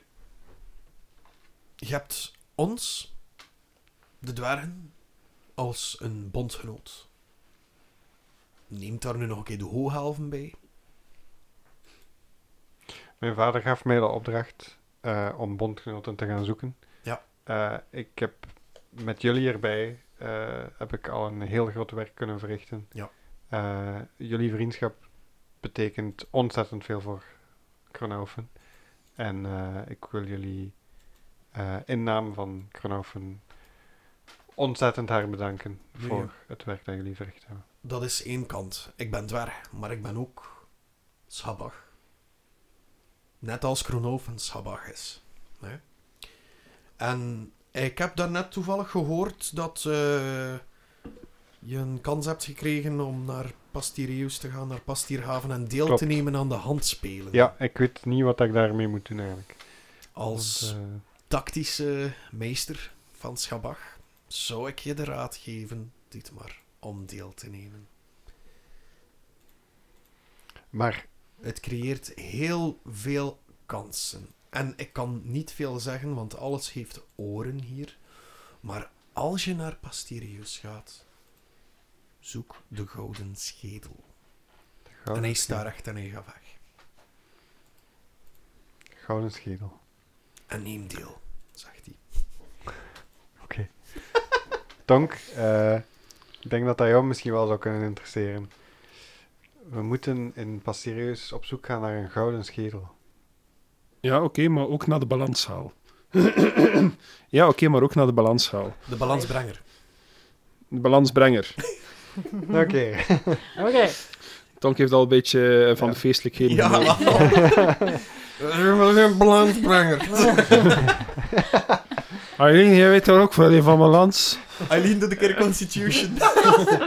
Speaker 1: je hebt ons, de dwergen, als een bondgenoot. Neemt daar nu nog een keer de hooghalven bij.
Speaker 2: Mijn vader gaf mij de opdracht eh, om bondgenoten te gaan zoeken.
Speaker 1: Ja.
Speaker 2: Eh, ik heb met jullie erbij eh, heb ik al een heel groot werk kunnen verrichten.
Speaker 1: Ja.
Speaker 2: Eh, jullie vriendschap betekent ontzettend veel voor Kronoven. En eh, ik wil jullie eh, in naam van Kronoven ontzettend hard bedanken
Speaker 1: Ja.
Speaker 2: voor het werk dat jullie verricht hebben.
Speaker 1: Dat is één kant. Ik ben dwerg, maar ik ben ook sabbag. Net als Kronoven een sabbag is. Hè? En ik heb daarnet toevallig gehoord dat eh, je een kans hebt gekregen om naar Pastireus te gaan, naar Pastierhaven en deel
Speaker 2: Klopt.
Speaker 1: te nemen aan de handspelen.
Speaker 2: Ja, ik weet niet wat ik daarmee moet doen eigenlijk.
Speaker 1: Als
Speaker 2: Want, eh,
Speaker 1: tactische meester van Schabach zou ik je de raad geven, dit maar, om deel te nemen.
Speaker 2: maar
Speaker 1: Het creëert heel veel kansen. En ik kan niet veel zeggen, want alles heeft oren hier. Maar als je naar Pastirius gaat, zoek de gouden schedel.
Speaker 2: Ah,
Speaker 1: en hij staat recht en hij gaat weg.
Speaker 2: Gouden schedel.
Speaker 1: En neem deel, zegt hij.
Speaker 2: Tonk, eh, ik denk dat dat jou misschien wel zou kunnen interesseren. We moeten in Pastereus op zoek gaan naar een gouden schedel.
Speaker 3: Ja, oké, maar ook naar de <coughs> balanshaal. ja, oké, maar ook naar de balanshaal.
Speaker 1: De balansbrenger.
Speaker 3: De balansbrenger.
Speaker 5: Mhm.
Speaker 2: Nou, Oké,
Speaker 4: Oké.
Speaker 5: <laughs>
Speaker 3: Tonk heeft al een beetje eh, van de feestelijkheden. genoten.
Speaker 1: een balansbrenger.
Speaker 3: Aileen, jij weet er ook wel een van balans.
Speaker 1: <laughs> Eileen doet een keer
Speaker 5: <laughs>
Speaker 1: Constitution.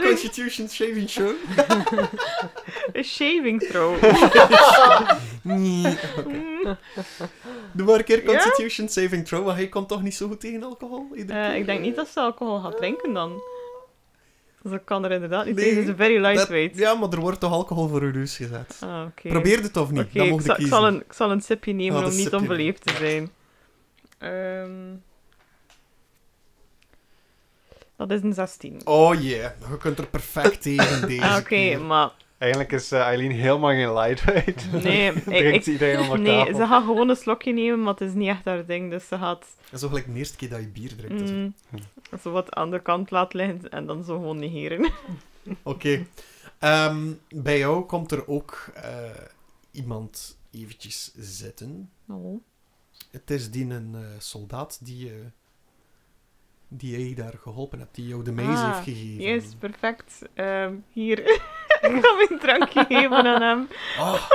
Speaker 1: Constitution Shaving Show.
Speaker 5: Een shaving throw.
Speaker 1: Nee. Doe maar een keer Constitution Saving Throw, want hij komt toch niet zo goed tegen alcohol? Iedere
Speaker 5: Eh,
Speaker 1: keer.
Speaker 5: ik denk niet dat ze alcohol gaat drinken dan. Dus ik kan er inderdaad niet
Speaker 1: Nee,
Speaker 5: tegen. Het is very
Speaker 1: Dat-
Speaker 5: lightweight.
Speaker 1: ja, maar er wordt toch alcohol voor uw neus gezet.
Speaker 5: Ah, oké.
Speaker 1: Probeer het of niet,
Speaker 5: Oké,
Speaker 1: dan
Speaker 5: ik,
Speaker 1: mocht
Speaker 5: zal-
Speaker 1: ik
Speaker 5: ik
Speaker 1: kiezen.
Speaker 5: zal een, ik zal een sipje nemen
Speaker 1: Ah, dat
Speaker 5: om niet
Speaker 1: sipje nemen.
Speaker 5: onbeleefd te zijn. Ehm, dat is een 16.
Speaker 1: Oh yeah, je kunt er
Speaker 5: <laughs>
Speaker 1: perfect tegen deze
Speaker 5: Ah, Oké,
Speaker 1: keer.
Speaker 5: maar
Speaker 2: eigenlijk is eh, Eileen helemaal geen lightweight.
Speaker 5: nee, <laughs>
Speaker 2: <laughs>
Speaker 5: ik,
Speaker 2: Drinkt
Speaker 5: ik-
Speaker 2: iedereen onder
Speaker 5: nee
Speaker 2: tafel.
Speaker 5: ze gaat gewoon een slokje nemen, maar het is niet echt haar ding. Dus ze gaat
Speaker 1: Dat is wel gelijk de eerste keer dat je bier drinkt. dus- dat is-
Speaker 5: mm, zo wat aan de kant laten liggen en dan zo gewoon <laughs> negeren.
Speaker 1: Oké. Ehm, bij jou komt er ook eh, iemand eventjes zitten.
Speaker 5: Oh.
Speaker 1: Het is die een eh, soldaat die, eh, die jij daar geholpen hebt, die jou de meis
Speaker 5: Ah,
Speaker 1: heeft gegeven.
Speaker 5: Yes, perfect. Ehm, hier, <laughs> ik ga mijn drankje geven aan hem.
Speaker 1: Ah.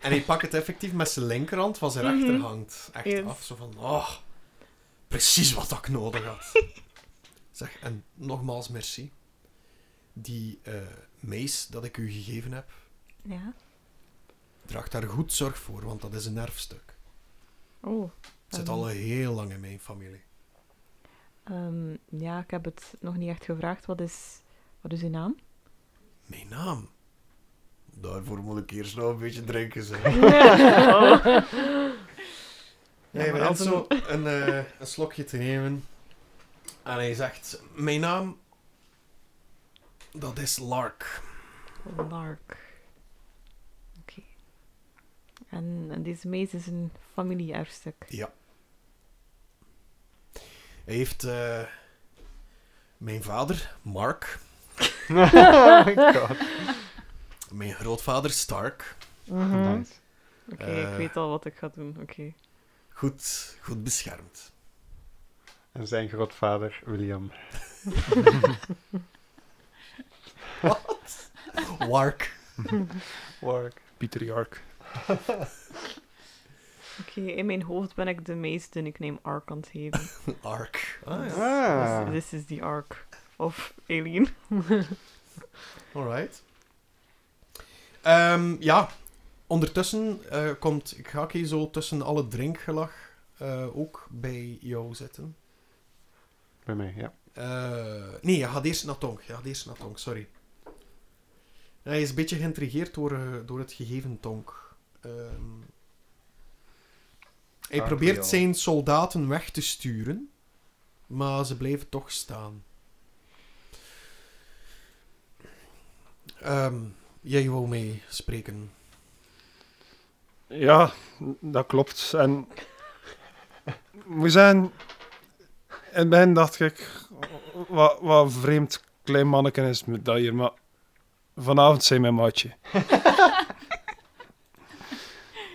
Speaker 1: En hij pakt het effectief met zijn linkerhand, wat zijn
Speaker 5: Mhm.
Speaker 1: rechter hangt. Echt
Speaker 5: Yes.
Speaker 1: af, zo van, oh, precies wat ik nodig had. zeg, en nogmaals merci. Die eh mees dat ik u gegeven heb,
Speaker 5: Ja.
Speaker 1: draag daar goed zorg voor, want dat is een erfstuk.
Speaker 5: Oh.
Speaker 1: Het zit
Speaker 5: Ehm.
Speaker 1: al heel lang in mijn familie.
Speaker 5: Ehm, ja, ik heb het nog niet echt gevraagd. Wat is, wat is uw naam?
Speaker 1: Mijn naam? Daarvoor moet ik eerst nog een beetje drinken, zeg.
Speaker 5: Ja,
Speaker 1: Hij
Speaker 5: maar
Speaker 1: begint
Speaker 5: als
Speaker 1: zo een, eh, een slokje te nemen. En hij zegt: Mijn naam. Dat is Lark.
Speaker 5: Lark. Oké. En, en deze meis is een familieerfstuk.
Speaker 1: Hij heeft. eh, mijn vader, Mark.
Speaker 2: <laughs> oh
Speaker 5: <laughs>
Speaker 2: my god.
Speaker 1: Mijn grootvader, Stark.
Speaker 5: Mhm.
Speaker 2: Nice.
Speaker 5: Oké,
Speaker 1: Eh.
Speaker 5: ik weet al wat ik ga doen. Oké.
Speaker 1: Goed, goed beschermd.
Speaker 2: En zijn grootvader, William.
Speaker 1: Lark.
Speaker 2: Wark.
Speaker 3: Pieter Jark.
Speaker 5: Oké, in mijn hoofd ben ik de meest de nickname Ark aan het geven.
Speaker 1: Ark. Ah, ja.
Speaker 2: Ah.
Speaker 5: Dus this is the Ark of Alien.
Speaker 1: Alright. Ehm, ja, ondertussen eh, komt Gaki zo tussen alle drinkgelach eh, ook bij jou zitten.
Speaker 2: Bij mij, ja.
Speaker 1: Eh, nee, je gaat eerst naar Tonk. Je gaat eerst naar Tonk, sorry. Hij is een beetje geïntrigeerd door, eh, door het gegeven Tonk. Ehm, hij
Speaker 2: Ah,
Speaker 1: probeert
Speaker 2: real.
Speaker 1: zijn soldaten weg te sturen, maar ze blijven toch staan. Ehm, jij wou mee spreken.
Speaker 3: Ja, dat klopt. En we zijn. In het begin dacht ik, wat, wat een vreemd klein manneken is met dat hier, maar vanavond zijn mijn maatje.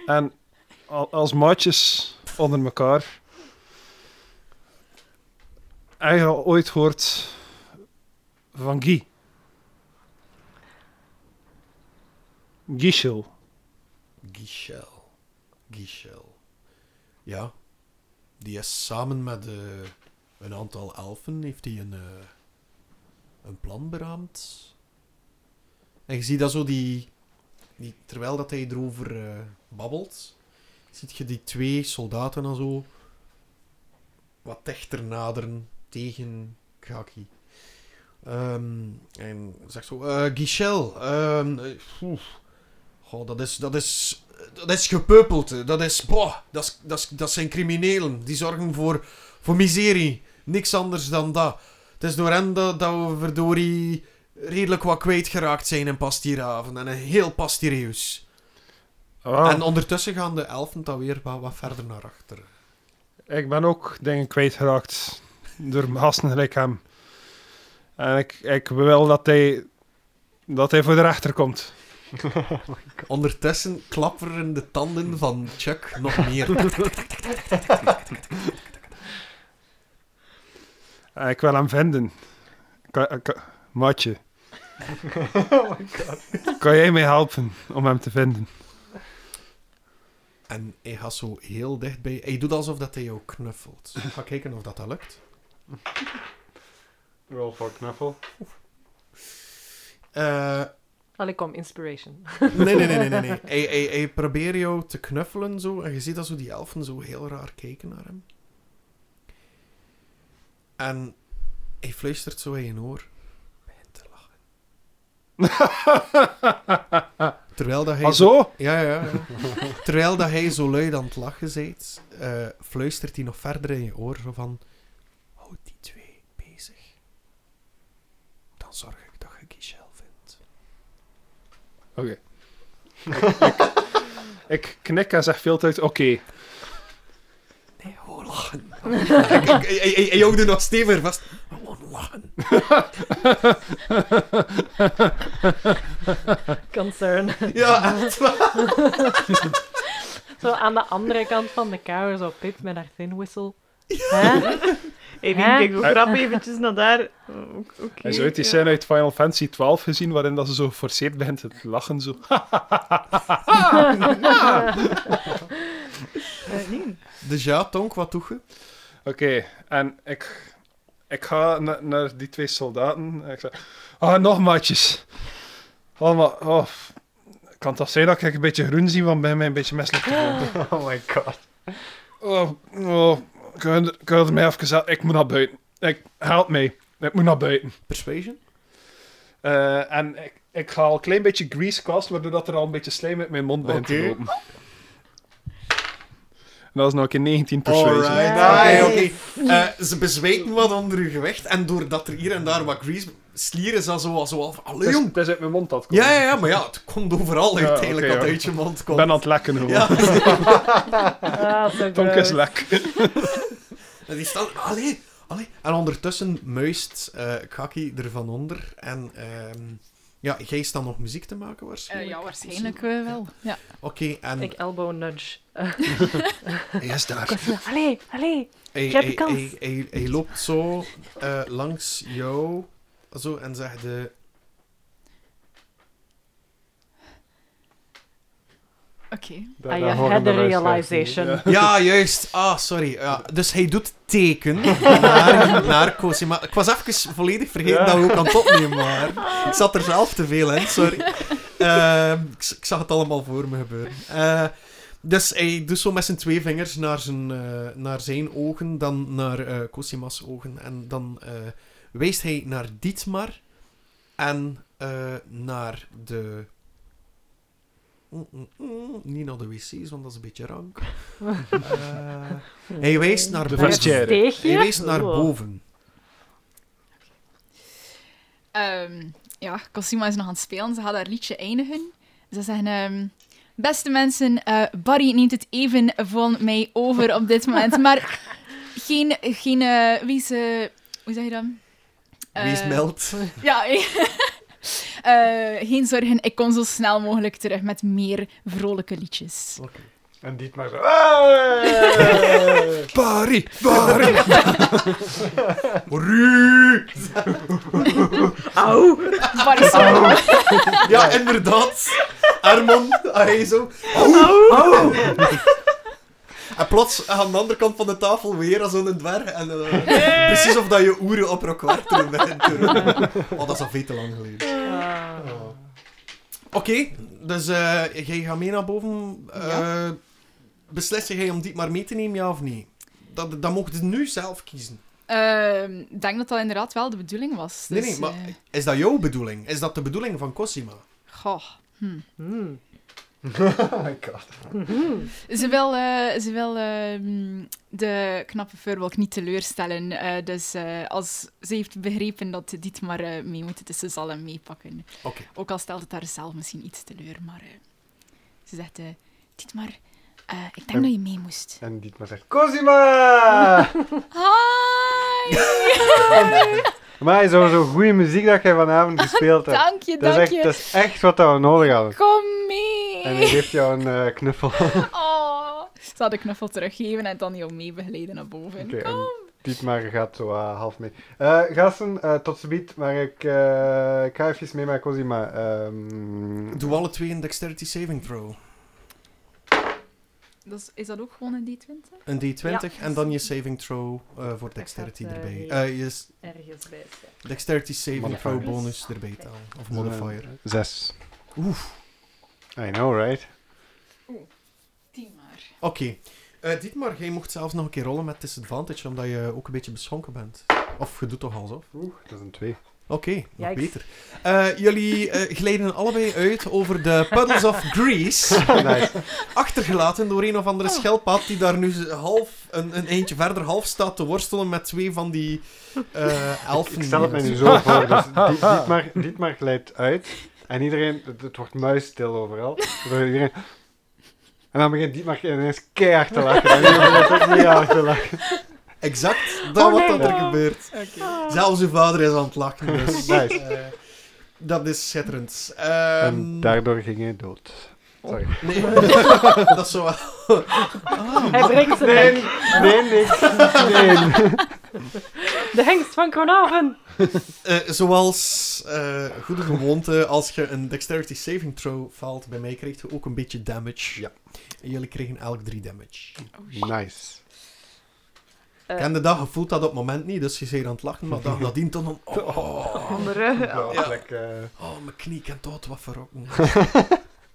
Speaker 3: en al- als maatjes onder elkaar, heb je al ooit hoort van Guy? Guichel.
Speaker 1: Gichel. Gichel. Ja. Die is samen met eh, een aantal elfen heeft hij een, eh, een plan beraamd. En je ziet dat zo die, die terwijl dat hij erover eh, babbelt, ziet je die twee soldaten dan zo wat dichter naderen tegen Kaki. Ehm, en zegt zo, eh Gichel, ehm, eh, oeh. Goh, dat is, dat is, dat is gepeupeld. hè. Dat is, boah, dat, is, dat, is- dat zijn criminelen. Die zorgen voor, voor miserie. Niks anders dan dat. Het is door hen dat, dat we verdorie redelijk wat kwijtgeraakt zijn in Pastierhaven. En een heel Pastiereus.
Speaker 3: Ah.
Speaker 1: En ondertussen gaan de elfen dan weer wat, wat verder naar achter.
Speaker 3: Ik ben ook dingen kwijtgeraakt door gasten gelijk hem. En ik, ik wil dat hij, dat hij voor de rechter komt.
Speaker 1: Ondertussen klapperen de tanden van Chuck nog meer.
Speaker 3: En ik wil hem vinden. Ka- ka- maatje. Kan jij mij helpen om hem te vinden?
Speaker 1: en hij gaat zo heel dichtbij. Hij doet alsof dat hij jou knuffelt. Ik ga kijken of dat, dat lukt.
Speaker 2: Roll for knuffel.
Speaker 1: Eh...
Speaker 4: Allee, kom,
Speaker 5: <laughs>
Speaker 4: inspiration.
Speaker 1: Nee, nee, nee, nee, nee. <laughs> nee. Hij, hij, hij probeert jou te knuffelen zo. En je ziet dat zo die elfen zo heel raar kijken naar hem. En hij fluistert zo in je oor. Begin te lachen. Terwijl dat hij.
Speaker 3: Ah, zo?
Speaker 1: Ja, ja, ja. Terwijl dat hij zo luid aan het lachen zijt, eh, fluistert hij nog verder in je oor zo van... Houd die twee bezig. Dan zorg ik dat je Giselle vindt.
Speaker 3: Ik knik en zeg veel tijd, oké.
Speaker 1: Nee, gewoon lachen. ik, ik, ik, ik, ik hou er nog steviger vast. Gewoon lachen.
Speaker 4: Concern.
Speaker 1: Ja, echt waar.
Speaker 4: Zo aan de andere kant van de kamer, zo Pip met haar thin whistle. Hè?
Speaker 5: Even
Speaker 4: Hè?
Speaker 5: kijk, we
Speaker 3: Eh.
Speaker 5: grappen eventjes naar daar. O- Oké.
Speaker 3: En zo uit die
Speaker 5: ja.
Speaker 3: scène uit Final Fantasy 12 gezien, waarin dat ze zo geforceerd begint te lachen. Zo. <laughs>
Speaker 5: Eh, nee.
Speaker 1: Dus ja, Tonk, wat doe je?
Speaker 3: Oké, en ik, ik ga na- naar die twee soldaten. En ik zeg, ah, nog maatjes. Allemaal, oh, f- kan het toch zijn dat ik een beetje groen zie, want bij mij een beetje misselijk. te worden?
Speaker 2: <laughs> Oh my god.
Speaker 3: Oh, oh, kun je- kun je mij even helpen? Ik moet naar buiten. Ik, help mij. Ik moet naar buiten.
Speaker 1: Persuasion?
Speaker 3: Eh, en ik, ik ga al een klein beetje grease casten, waardoor dat er al een beetje slijm uit mijn mond begint
Speaker 1: Oké.
Speaker 3: te lopen. En dat is nog een keer 19 persuasion.
Speaker 1: Oké, Ah, oké.
Speaker 4: Nice.
Speaker 1: Eh, ze bezweken wat onder hun gewicht. En doordat er hier en daar wat grease... Slieren ze zo, zo af. Allee,
Speaker 3: Het is,
Speaker 1: jong.
Speaker 3: het is uit mijn mond dat komt.
Speaker 1: Ja, ja, ja, maar ja, het komt overal
Speaker 3: Dus- Ja,
Speaker 1: uiteindelijk
Speaker 3: oké,
Speaker 1: wat
Speaker 3: ja.
Speaker 1: uit je mond
Speaker 3: Ik
Speaker 1: komt.
Speaker 3: ben aan het lekken gewoon.
Speaker 1: Ja,
Speaker 4: Ah, zo
Speaker 3: Tonk is
Speaker 4: gross.
Speaker 3: lek.
Speaker 1: en die staan... Allee, allee. En ondertussen muist eh Kaki er van onder. En ehm, ja, jij staat nog muziek te maken waarschijnlijk?
Speaker 6: ja, waarschijnlijk eh, wel. Ja.
Speaker 1: Oké, en...
Speaker 4: Ik elbow nudge. Eh,
Speaker 1: Hij is daar.
Speaker 4: allee, allee.
Speaker 1: Hij,
Speaker 4: Je hebt
Speaker 1: hij-
Speaker 4: de kans.
Speaker 1: hij- hij- hij loopt zo eh, langs jou zo, en zegt: eh,
Speaker 6: Oké.
Speaker 2: Da-
Speaker 4: I
Speaker 2: daar horen
Speaker 4: Ah, had
Speaker 2: de
Speaker 4: a
Speaker 2: luisteraars
Speaker 4: realization.
Speaker 2: niet.
Speaker 1: Ja, juist. Ah, sorry. Ja, dus hij doet teken naar, naar Cosima. Ik was even volledig vergeten
Speaker 2: Ja.
Speaker 1: dat we ook aan het opnemen waren. Ik zat er zelf te veel in, sorry. Ehm, ik, z- ik zag het allemaal voor me gebeuren. Eh, dus hij doet zo met zijn twee vingers naar zijn, eh, naar zijn ogen, dan naar eh Cosima's ogen. En dan eh, wijst hij naar Dietmar en eh, naar de... Mm, mm, mm, niet naar de wc's, want dat is een beetje rank. Eh, hij wijst naar
Speaker 2: De
Speaker 1: boven.
Speaker 2: vestiaire.
Speaker 1: Hij
Speaker 4: Steegje?
Speaker 1: wijst naar
Speaker 4: Oh.
Speaker 1: boven.
Speaker 6: Ehm, ja, Cosima is nog aan het spelen. Ze gaat haar liedje eindigen. Ze zeggen... ehm, Beste mensen, eh, Barry neemt het even van mij over op dit moment. Maar geen... geen eh, wees... eh, hoe zeg je dat?
Speaker 1: Wees
Speaker 6: Eh,
Speaker 1: mild.
Speaker 6: Ja, <laughs> ik- Eh, geen zorgen. Ik kom zo snel mogelijk terug met meer vrolijke liedjes.
Speaker 2: En Dietmar zo... "Hey!"
Speaker 1: Barry, Barry. Ru.
Speaker 4: Au!
Speaker 6: Barry is zo-
Speaker 1: <laughs> Ja, inderdaad. Armon, hij zo. Au, au. En plots aan de andere kant van de tafel weer als zo'n dwerg. En, eh, Precies of dat je oeren op Rockwarter bent. Oh, dat is al veel te lang geleden.
Speaker 4: Ah.
Speaker 1: Oké, dus eh, jij gaat mee naar boven. Eh, Beslis jij om dit maar mee te nemen, ja of nee? Dat, dat mocht je nu zelf kiezen.
Speaker 6: Ehm, Ik denk dat dat inderdaad wel de bedoeling was.
Speaker 1: Nee,
Speaker 6: Dus,
Speaker 1: nee, maar
Speaker 6: eh,
Speaker 1: is dat jouw bedoeling? Is dat de bedoeling van Cosima?
Speaker 6: goh. Hm.
Speaker 4: Hmm.
Speaker 2: <laughs> Oh my god.
Speaker 6: Ze wil, eh, ze wil ehm, de knappe Furwalk niet teleurstellen. eh, dus eh, als, ze heeft begrepen dat dit maar eh, mee moet, dus ze zal hem meepakken.
Speaker 1: Oké.
Speaker 6: Ook al stelt het haar zelf misschien iets teleur, maar eh, ze zegt: eh Dit maar, eh, ik denk
Speaker 2: Ehm.
Speaker 6: dat je mee moest.
Speaker 2: En Dietmar zegt... Cosima!
Speaker 6: Hi!
Speaker 2: <laughs> maar zo, zo goede muziek dat jij vanavond gespeeld
Speaker 6: <laughs>
Speaker 2: hebt.
Speaker 6: dank je,
Speaker 2: dat, is
Speaker 6: dank
Speaker 2: echt, dat
Speaker 6: je.
Speaker 2: is echt wat dat we nodig hadden.
Speaker 6: Kom
Speaker 2: En hij
Speaker 6: mee!
Speaker 2: geeft jou een eh, knuffel. <laughs>
Speaker 6: <laughs> Oh. Ze had de knuffel teruggeven en dan jou mee begeleiden naar boven.
Speaker 2: Oké,
Speaker 6: Kom.
Speaker 2: en Dietmar gaat zo eh, half mee. Eh, gasten, eh, tot ziens, maar ik, eh, ik ga even mee met Cosima. Ehm,
Speaker 1: Doe alle twee een dexterity saving throw.
Speaker 6: Dus is dat ook gewoon een D20?
Speaker 1: Een D20
Speaker 4: Ja.
Speaker 1: en dan je saving throw eh, voor dexterity
Speaker 4: had, eh,
Speaker 1: erbij.
Speaker 4: die-
Speaker 1: Eh, je s-
Speaker 4: Ergens bij het-
Speaker 1: dexterity saving
Speaker 2: Modifier. Eh,
Speaker 1: throw bonus erbij te halen. Of modifier.
Speaker 2: Zes.
Speaker 1: Oef.
Speaker 2: I know, right?
Speaker 6: 10 maar.
Speaker 1: Oké. Eh, Dietmar, jij mocht zelfs nog een keer rollen met disadvantage, omdat je ook een beetje beschonken bent. Of je doet toch alsof.
Speaker 2: Dat is een twee. <laughs>
Speaker 1: Oké, nog
Speaker 4: Yikes.
Speaker 1: beter. Eh, jullie eh, glijden allebei uit over de Puddles of Grease.
Speaker 2: nice.
Speaker 1: achtergelaten door een of andere
Speaker 6: Oh.
Speaker 1: schelpaad die daar nu half, een, een eindje verder half staat te worstelen met twee van die eh elfen.
Speaker 2: Ik stel het mij nu zo voor.
Speaker 1: <laughs>
Speaker 2: Dus Di- Dietmar, Dietmar glijdt uit. En iedereen, het, het wordt muisstil overal. Waardoor Iedereen... En dan begint Dietmar ineens keihard te lachen. En iedereen begint ook mee hard te lachen.
Speaker 1: Exact dat
Speaker 4: Oh,
Speaker 1: wat
Speaker 4: nee.
Speaker 1: dat er
Speaker 4: Ja.
Speaker 1: gebeurt.
Speaker 6: Oké.
Speaker 1: Zelfs uw vader is aan het lachen. Dus,
Speaker 2: Ah. <laughs> Nice.
Speaker 1: eh, dat is schitterend. Ehm,
Speaker 2: En daardoor ging hij dood. Sorry.
Speaker 1: nee, <laughs> dat is zo wel.
Speaker 4: Hij breekt zijn
Speaker 2: Nee,
Speaker 4: hengst.
Speaker 2: nee, niks. Nee.
Speaker 4: De hengst van Cornaven!
Speaker 1: Eh, zoals eh, goede gewoonte, als je een dexterity saving throw faalt bij mij, krijg je ook een beetje damage.
Speaker 2: Ja.
Speaker 1: En jullie kregen elk drie damage.
Speaker 2: Nice.
Speaker 4: Eh,
Speaker 1: Ik ken de dag, je voelt dat op het moment niet, dus je zei aan het lachen, maar dan nadien dan... dan oh,
Speaker 5: Andere.
Speaker 1: Ja.
Speaker 2: lekker.
Speaker 1: oh, mijn knie kan tot wat
Speaker 4: <laughs>
Speaker 1: verrokken.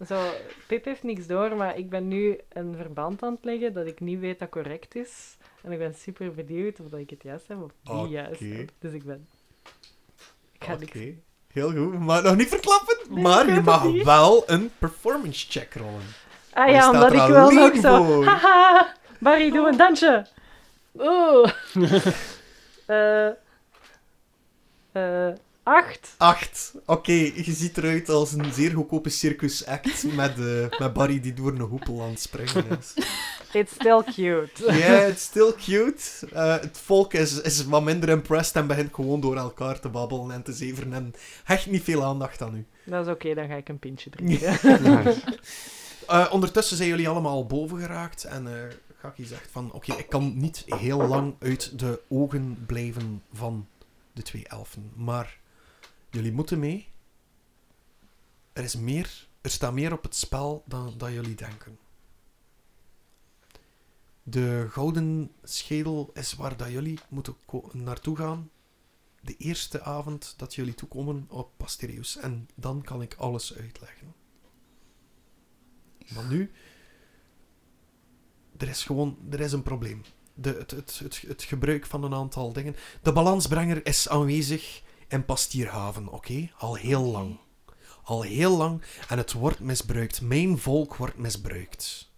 Speaker 4: Zo, Pip heeft niks door, maar ik ben nu een verband aan het leggen dat ik niet weet dat correct is. En ik ben super benieuwd of dat ik het juist heb of niet
Speaker 1: Oké.
Speaker 4: juist heb. Dus ik ben... Ik ga
Speaker 1: Oké,
Speaker 4: niks doen.
Speaker 1: heel goed, maar nog niet verklappen.
Speaker 4: Nee, ik
Speaker 1: maar
Speaker 4: weet
Speaker 1: je
Speaker 4: het
Speaker 1: mag
Speaker 4: niet.
Speaker 1: wel een performance check rollen.
Speaker 4: Ah
Speaker 1: Hij
Speaker 4: ja,
Speaker 1: staat
Speaker 4: omdat
Speaker 1: er
Speaker 4: ik wel nog
Speaker 1: alleen
Speaker 4: zo...
Speaker 1: voor.
Speaker 4: Haha! Barry, doe een dansje! Oeh!
Speaker 1: <laughs>
Speaker 4: Eh... eh, acht!
Speaker 1: Acht. Oké, je ziet eruit als een zeer goedkope circusact met, eh, met Barry die door een hoepel aan het springen is.
Speaker 4: It's still cute.
Speaker 1: Ja, it's still cute. Eh, het volk is, is wat minder impressed en begint gewoon door elkaar te babbelen en te zeveren en hecht niet veel aandacht aan u.
Speaker 4: Dat is oké, dan ga ik een pintje drinken.
Speaker 2: Nice.
Speaker 1: Eh, ondertussen zijn jullie allemaal boven geraakt en eh Gaki zegt van oké, ik kan niet heel lang uit de ogen blijven van de twee elfen, maar jullie moeten mee. Er is meer Er staat meer op het spel dan, dan jullie denken. De gouden schedel is waar dat jullie moeten ko- naartoe gaan. De eerste avond dat jullie toekomen op Pastereus. En dan kan ik alles uitleggen. Maar nu... Er is gewoon... Er is een probleem. De, het, het, het, het gebruik van een aantal dingen. De balansbrenger is aanwezig in Pastierhaven, oké? Al heel lang. Al heel lang. En het wordt misbruikt. Mijn volk wordt misbruikt.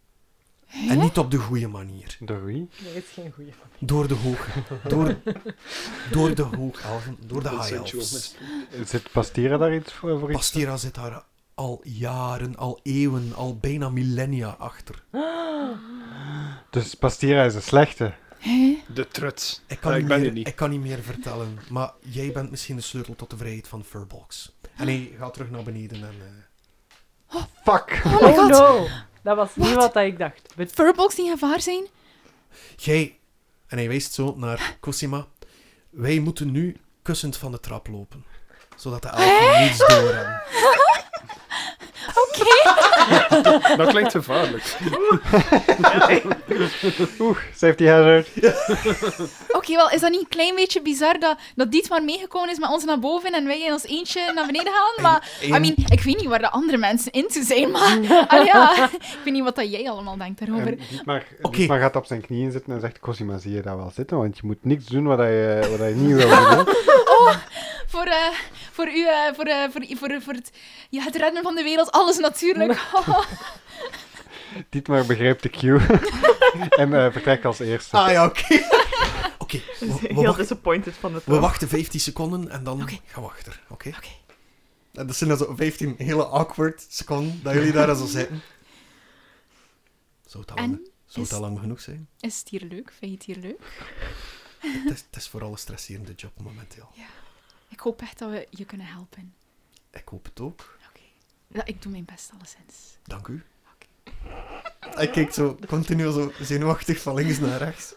Speaker 1: En niet op de goede manier.
Speaker 2: Door wie?
Speaker 4: Nee, het is geen goede van.
Speaker 1: Door de hoog. Door, door de hoogelfen. Door de high
Speaker 3: Consensual
Speaker 1: elves.
Speaker 2: Zit Pastira daar iets voor? voor iets?
Speaker 1: Pastira zit daar al jaren, al eeuwen, al bijna millennia achter.
Speaker 2: Dus Pastira is een slechte.
Speaker 3: De trut.
Speaker 1: Ik kan,
Speaker 3: Ja, Eh, ik
Speaker 1: niet
Speaker 3: ben
Speaker 1: meer,
Speaker 3: er niet.
Speaker 1: ik kan niet meer vertellen, maar jij bent misschien de sleutel tot de vrijheid van Furbolgs. En hij gaat terug naar beneden en... eh,
Speaker 2: Fuck!
Speaker 6: Oh my
Speaker 4: Oh
Speaker 6: god,
Speaker 4: no! Dat was niet
Speaker 6: Wat?
Speaker 4: wat ik dacht. Bet-
Speaker 6: Furbolgs die in gevaar zijn?
Speaker 1: Jij, en hij wijst zo naar Cosima, wij moeten nu kussend van de trap lopen. Zodat
Speaker 6: <laughs>
Speaker 1: de elfen niets doorhebben.
Speaker 6: Oké.
Speaker 3: Dat klinkt gevaarlijk.
Speaker 2: Oeh, safety hazard.
Speaker 6: Oké, wel, is dat niet een klein beetje bizar dat, dat dit maar meegekomen is met ons naar boven en wij in ons eentje naar beneden gaan? Maar,
Speaker 1: En-
Speaker 6: I mean, ik weet niet waar de andere mensen in te zijn, maar... <laughs> Ah ja, ik weet niet wat dat jij allemaal denkt daarover.
Speaker 2: En Dietmar,
Speaker 1: Oké.
Speaker 2: Dietmar gaat op zijn knieën zitten en zegt, Cosima, zie je daar wel zitten? Want je moet niks doen wat je, wat je niet wil doen. hè?"
Speaker 6: Voor, eh, voor u, eh, voor, eh, voor, voor, voor het, ja, het redden van de wereld, alles <laughs> natuurlijk. Oh,
Speaker 2: Dietmar begrijpt de cue <laughs> en eh, vertrekt als eerste.
Speaker 1: Ah ja, oké. <laughs> Oké,
Speaker 5: Dus
Speaker 1: we, we
Speaker 5: heel
Speaker 1: wachten,
Speaker 5: disappointed van het
Speaker 1: we wachten 15 seconden en dan gaan we achter, oké?
Speaker 6: Oké.
Speaker 1: En dat zijn dan zo 15 hele awkward seconden dat jullie daar zo zitten. Zou het al,
Speaker 6: En
Speaker 1: lang, zou het
Speaker 6: is-
Speaker 1: al lang genoeg zijn?
Speaker 6: Is het hier leuk? Vind je het hier leuk?
Speaker 1: Het is, het is vooral een stresserende job momenteel.
Speaker 6: Ik hoop echt dat we je kunnen helpen.
Speaker 1: Ik hoop het ook.
Speaker 6: Oké. Ja, ik doe mijn best, alleszins.
Speaker 1: Dank u. Hij kijkt zo continu zo zenuwachtig van links naar rechts.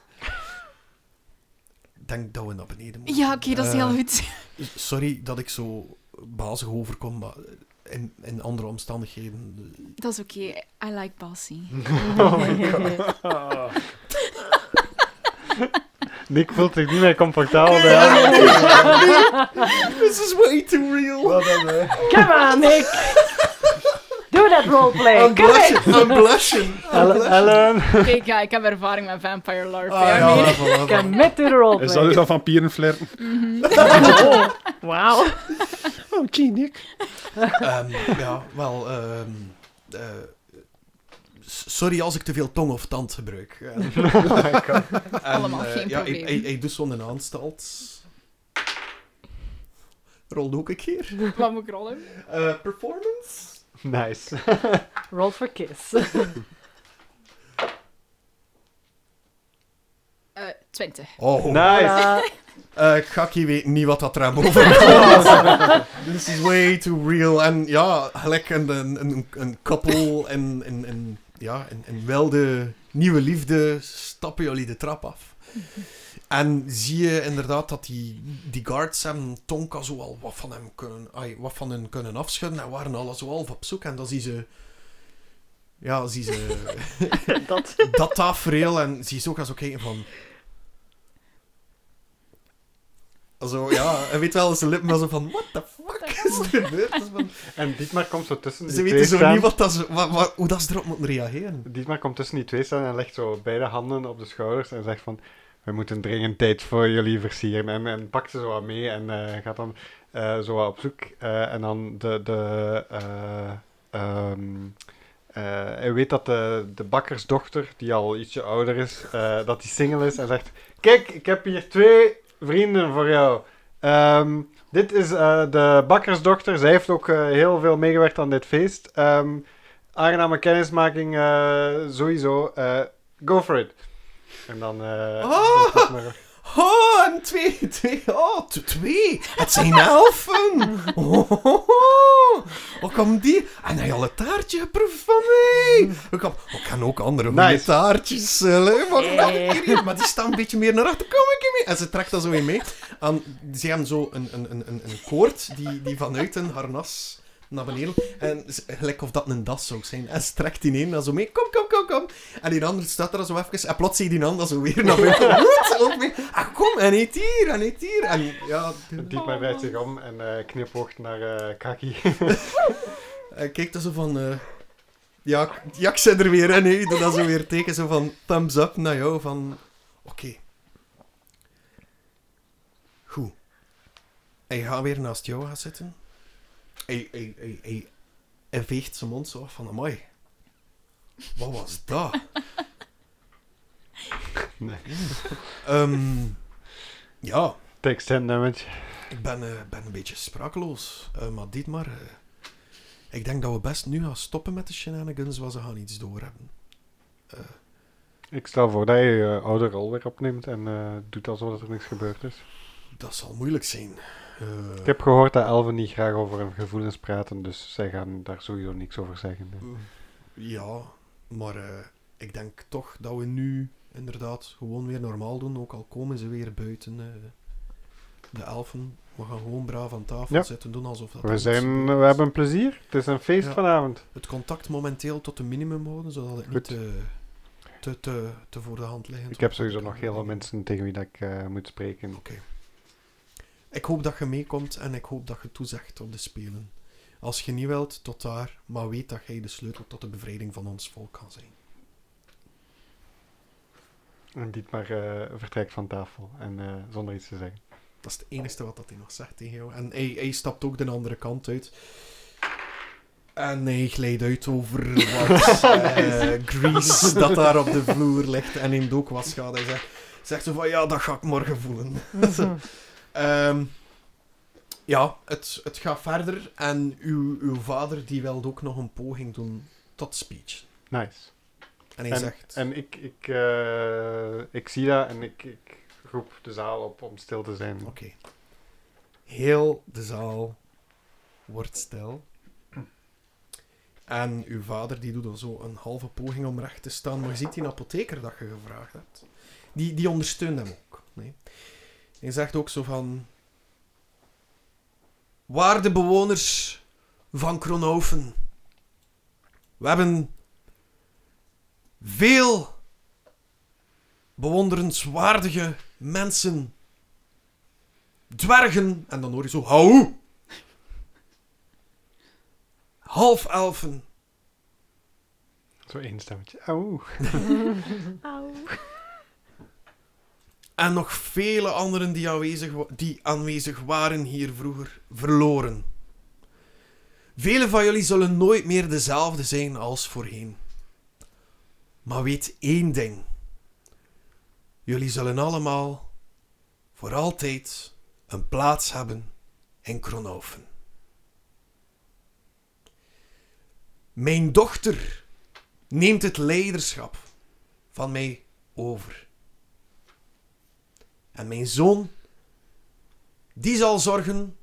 Speaker 1: Denk dat we naar beneden moeten.
Speaker 6: Ja, oké, dat is heel
Speaker 1: Eh,
Speaker 6: goed. <laughs>
Speaker 1: Sorry dat ik zo bazig overkom, maar in, in andere omstandigheden...
Speaker 6: Dat is oké. I like
Speaker 1: <laughs>
Speaker 6: bossy.
Speaker 1: Ah.
Speaker 2: Nick voelt zich niet meer comfortabel bij.
Speaker 1: <laughs> This is way too real.
Speaker 4: Come on, Nick! Doe dat roleplay!
Speaker 1: I'm
Speaker 4: Come in! <laughs>
Speaker 1: blushing, I'm blushing.
Speaker 2: Ellen, Ellen.
Speaker 6: Kijk, ja, ik heb ervaring met vampire larvae.
Speaker 1: Ah,
Speaker 6: I
Speaker 1: ja,
Speaker 6: mean-
Speaker 1: voilà, voilà.
Speaker 4: Commit to the
Speaker 3: Is dat
Speaker 4: roleplay!
Speaker 3: dus al vampieren flirten?
Speaker 5: Oh, wauw.
Speaker 3: Oh, gee, Nick.
Speaker 1: Ehm, ja, wel... ehm, eh, s- sorry als ik te veel tong of tand gebruik. Eh, en,
Speaker 6: Allemaal
Speaker 1: eh,
Speaker 6: geen
Speaker 1: ja,
Speaker 6: probleem.
Speaker 1: Hij, hij, hij doet zo'n aanstalt. Rolde ook een keer.
Speaker 6: Wat moet ik rollen?
Speaker 1: Eh, performance?
Speaker 2: Nice.
Speaker 4: Roll for kiss.
Speaker 6: Eh, 20.
Speaker 1: Oh,
Speaker 2: Nice.
Speaker 4: Voilà.
Speaker 1: Eh, Kaki weet niet wat dat raam over gaat. This is way too real. En ja, gelijk een, een, een, een koppel en, en, en, ja, en, en wilde nieuwe liefde stappen jullie de trap af. En zie je inderdaad dat die, die guards hem, Tonka, zo al wat van hem kunnen, ai, wat van hen kunnen afschudden. En waren alles zo half op zoek. En dan zien ze... Ja, zien ze
Speaker 5: Dat.
Speaker 1: dat tafereel en zie je ook als zo kijken van... Zo, ja, en weet wel, zijn lippen wel zo van, what the fuck is er gebeurd? Dat is van-
Speaker 2: En Dietmar komt zo tussen die
Speaker 1: Ze
Speaker 2: twee
Speaker 1: weten zo
Speaker 2: staan.
Speaker 1: niet wat dat ze, wa- wa- hoe dat ze erop moeten reageren.
Speaker 2: <clears throat> Dietmar komt tussen die twee staan en legt zo beide handen op de schouders en zegt van... We moeten dringend tijd voor jullie versieren. En, en pakt ze zo wat mee en eh, gaat dan eh, zo wat op zoek. Eh, en dan de... de eh, ehm, eh, hij weet dat de, de bakkersdochter, die al ietsje ouder is, eh, dat die single is. En zegt, kijk, ik heb hier twee vrienden voor jou. Ehm, dit is eh, de bakkersdochter. Zij heeft ook eh, heel veel meegewerkt aan dit feest. Ehm, aangename kennismaking, eh, sowieso. Eh, go for it. En dan... eh,
Speaker 1: Ah!
Speaker 2: doet maar-
Speaker 1: Oh, en twee, twee, oh, t- twee. Het zijn elfen. Oh, oh, oh. Hoe kwam die? En hij had een taartje geproefd van mij. Ik kan, ik kan ook andere goede
Speaker 2: Nice.
Speaker 1: taartjes. eh, leuk, maar, kom
Speaker 4: Eh.
Speaker 1: ik hier? maar die staan een beetje meer naar achter. Kom ik hier mee? En ze trekt dat zo in mee. En ze hebben zo een, een, een, een, een koord die, die vanuit een harnas naar beneden. En z- gelijk of dat een das zou zijn. En strekt die een dan zo mee. Kom, kom, kom, kom. En die ander staat er zo even. En plots zie je die ander zo weer naar buiten. Woed, ook mee. Ah, kom, en eet hier, en eet hier. En ja,
Speaker 2: Dietmar wijst zich om en eh knipoogt naar eh, Kaki. <laughs>
Speaker 1: Hij kijkt er zo van... eh, ja, ik- ja, ik zit er weer in. hè. Hij doet dat zo weer teken zo van thumbs up naar jou. Van, oké. Goed. Hij gaat weer naast jou gaan zitten. Hij, hij, hij, hij, hij veegt zijn mond zo af van, amai. Wat was dat?
Speaker 2: Nee.
Speaker 1: Ehm, ja,
Speaker 2: Takes 10 damage.
Speaker 1: ik ben, eh, ben een beetje sprakeloos. Eh, maar Dietmar, maar ik denk dat we best nu gaan stoppen met de shenanigans, want ze gaan iets doorhebben.
Speaker 2: Ik stel voor dat je je oude rol weer opneemt en eh, doet alsof er niks gebeurd is.
Speaker 1: Dat zal moeilijk zijn. Eh,
Speaker 2: Ik heb gehoord dat elfen niet graag over hun gevoelens praten, dus zij gaan daar sowieso niks over zeggen. nee.
Speaker 1: Ja, maar eh, ik denk toch dat we nu inderdaad gewoon weer normaal doen, ook al komen ze weer buiten eh, de elfen. We gaan gewoon braaf aan tafel
Speaker 2: Ja.
Speaker 1: zitten, doen alsof dat... er
Speaker 2: We,
Speaker 1: niks
Speaker 2: zijn,
Speaker 1: gebeurd
Speaker 2: we
Speaker 1: is.
Speaker 2: hebben plezier. Het is een feest
Speaker 1: Ja.
Speaker 2: vanavond.
Speaker 1: Het contact momenteel tot een minimum houden, zodat het niet
Speaker 2: Goed.
Speaker 1: te, te, te, te voor de hand liggend
Speaker 2: Ik heb
Speaker 1: wordt.
Speaker 2: sowieso nog heel veel mensen tegen wie dat ik eh, moet spreken.
Speaker 1: Oké. Ik hoop dat je meekomt en ik hoop dat je toezegt op de spelen. Als je niet wilt, tot daar, maar weet dat jij de sleutel tot de bevrijding van ons volk kan zijn.
Speaker 2: En Dietmar eh vertrekt van tafel en eh, zonder iets te zeggen.
Speaker 1: Dat is het enige wat dat hij nog zegt tegen jou. En hij, hij stapt ook de andere kant uit. En hij glijdt uit over wat eh, grease dat daar op de vloer ligt. En neemt ook wat schade. Hij zegt, zegt zo van, ja, dat ga ik morgen voelen. <laughs> Ehm, ja, het, het gaat verder. En uw, uw vader die wilde ook nog een poging doen tot speech.
Speaker 2: Nice.
Speaker 1: En hij zegt...
Speaker 2: En ik, ik, eh, ik zie dat en ik, ik roep de zaal op om stil te zijn.
Speaker 1: Oké. Heel de zaal wordt stil. En uw vader die doet dan zo een halve poging om recht te staan. Maar je ziet die apotheker dat je gevraagd hebt. Die, die ondersteunt hem ook. Nee. Hij zegt ook zo van... Waarde bewoners van Kronhoven. We hebben veel bewonderenswaardige mensen dwergen. En dan hoor je zo, hou! Half elfen.
Speaker 2: Zo één stemmetje. Auw.
Speaker 1: En nog vele anderen die aanwezig, wa- die aanwezig waren hier vroeger, verloren. Velen van jullie zullen nooit meer dezelfde zijn als voorheen. Maar weet één ding. Jullie zullen allemaal voor altijd een plaats hebben in Kronoven. Mijn dochter neemt het leiderschap van mij over. En mijn zoon, die zal zorgen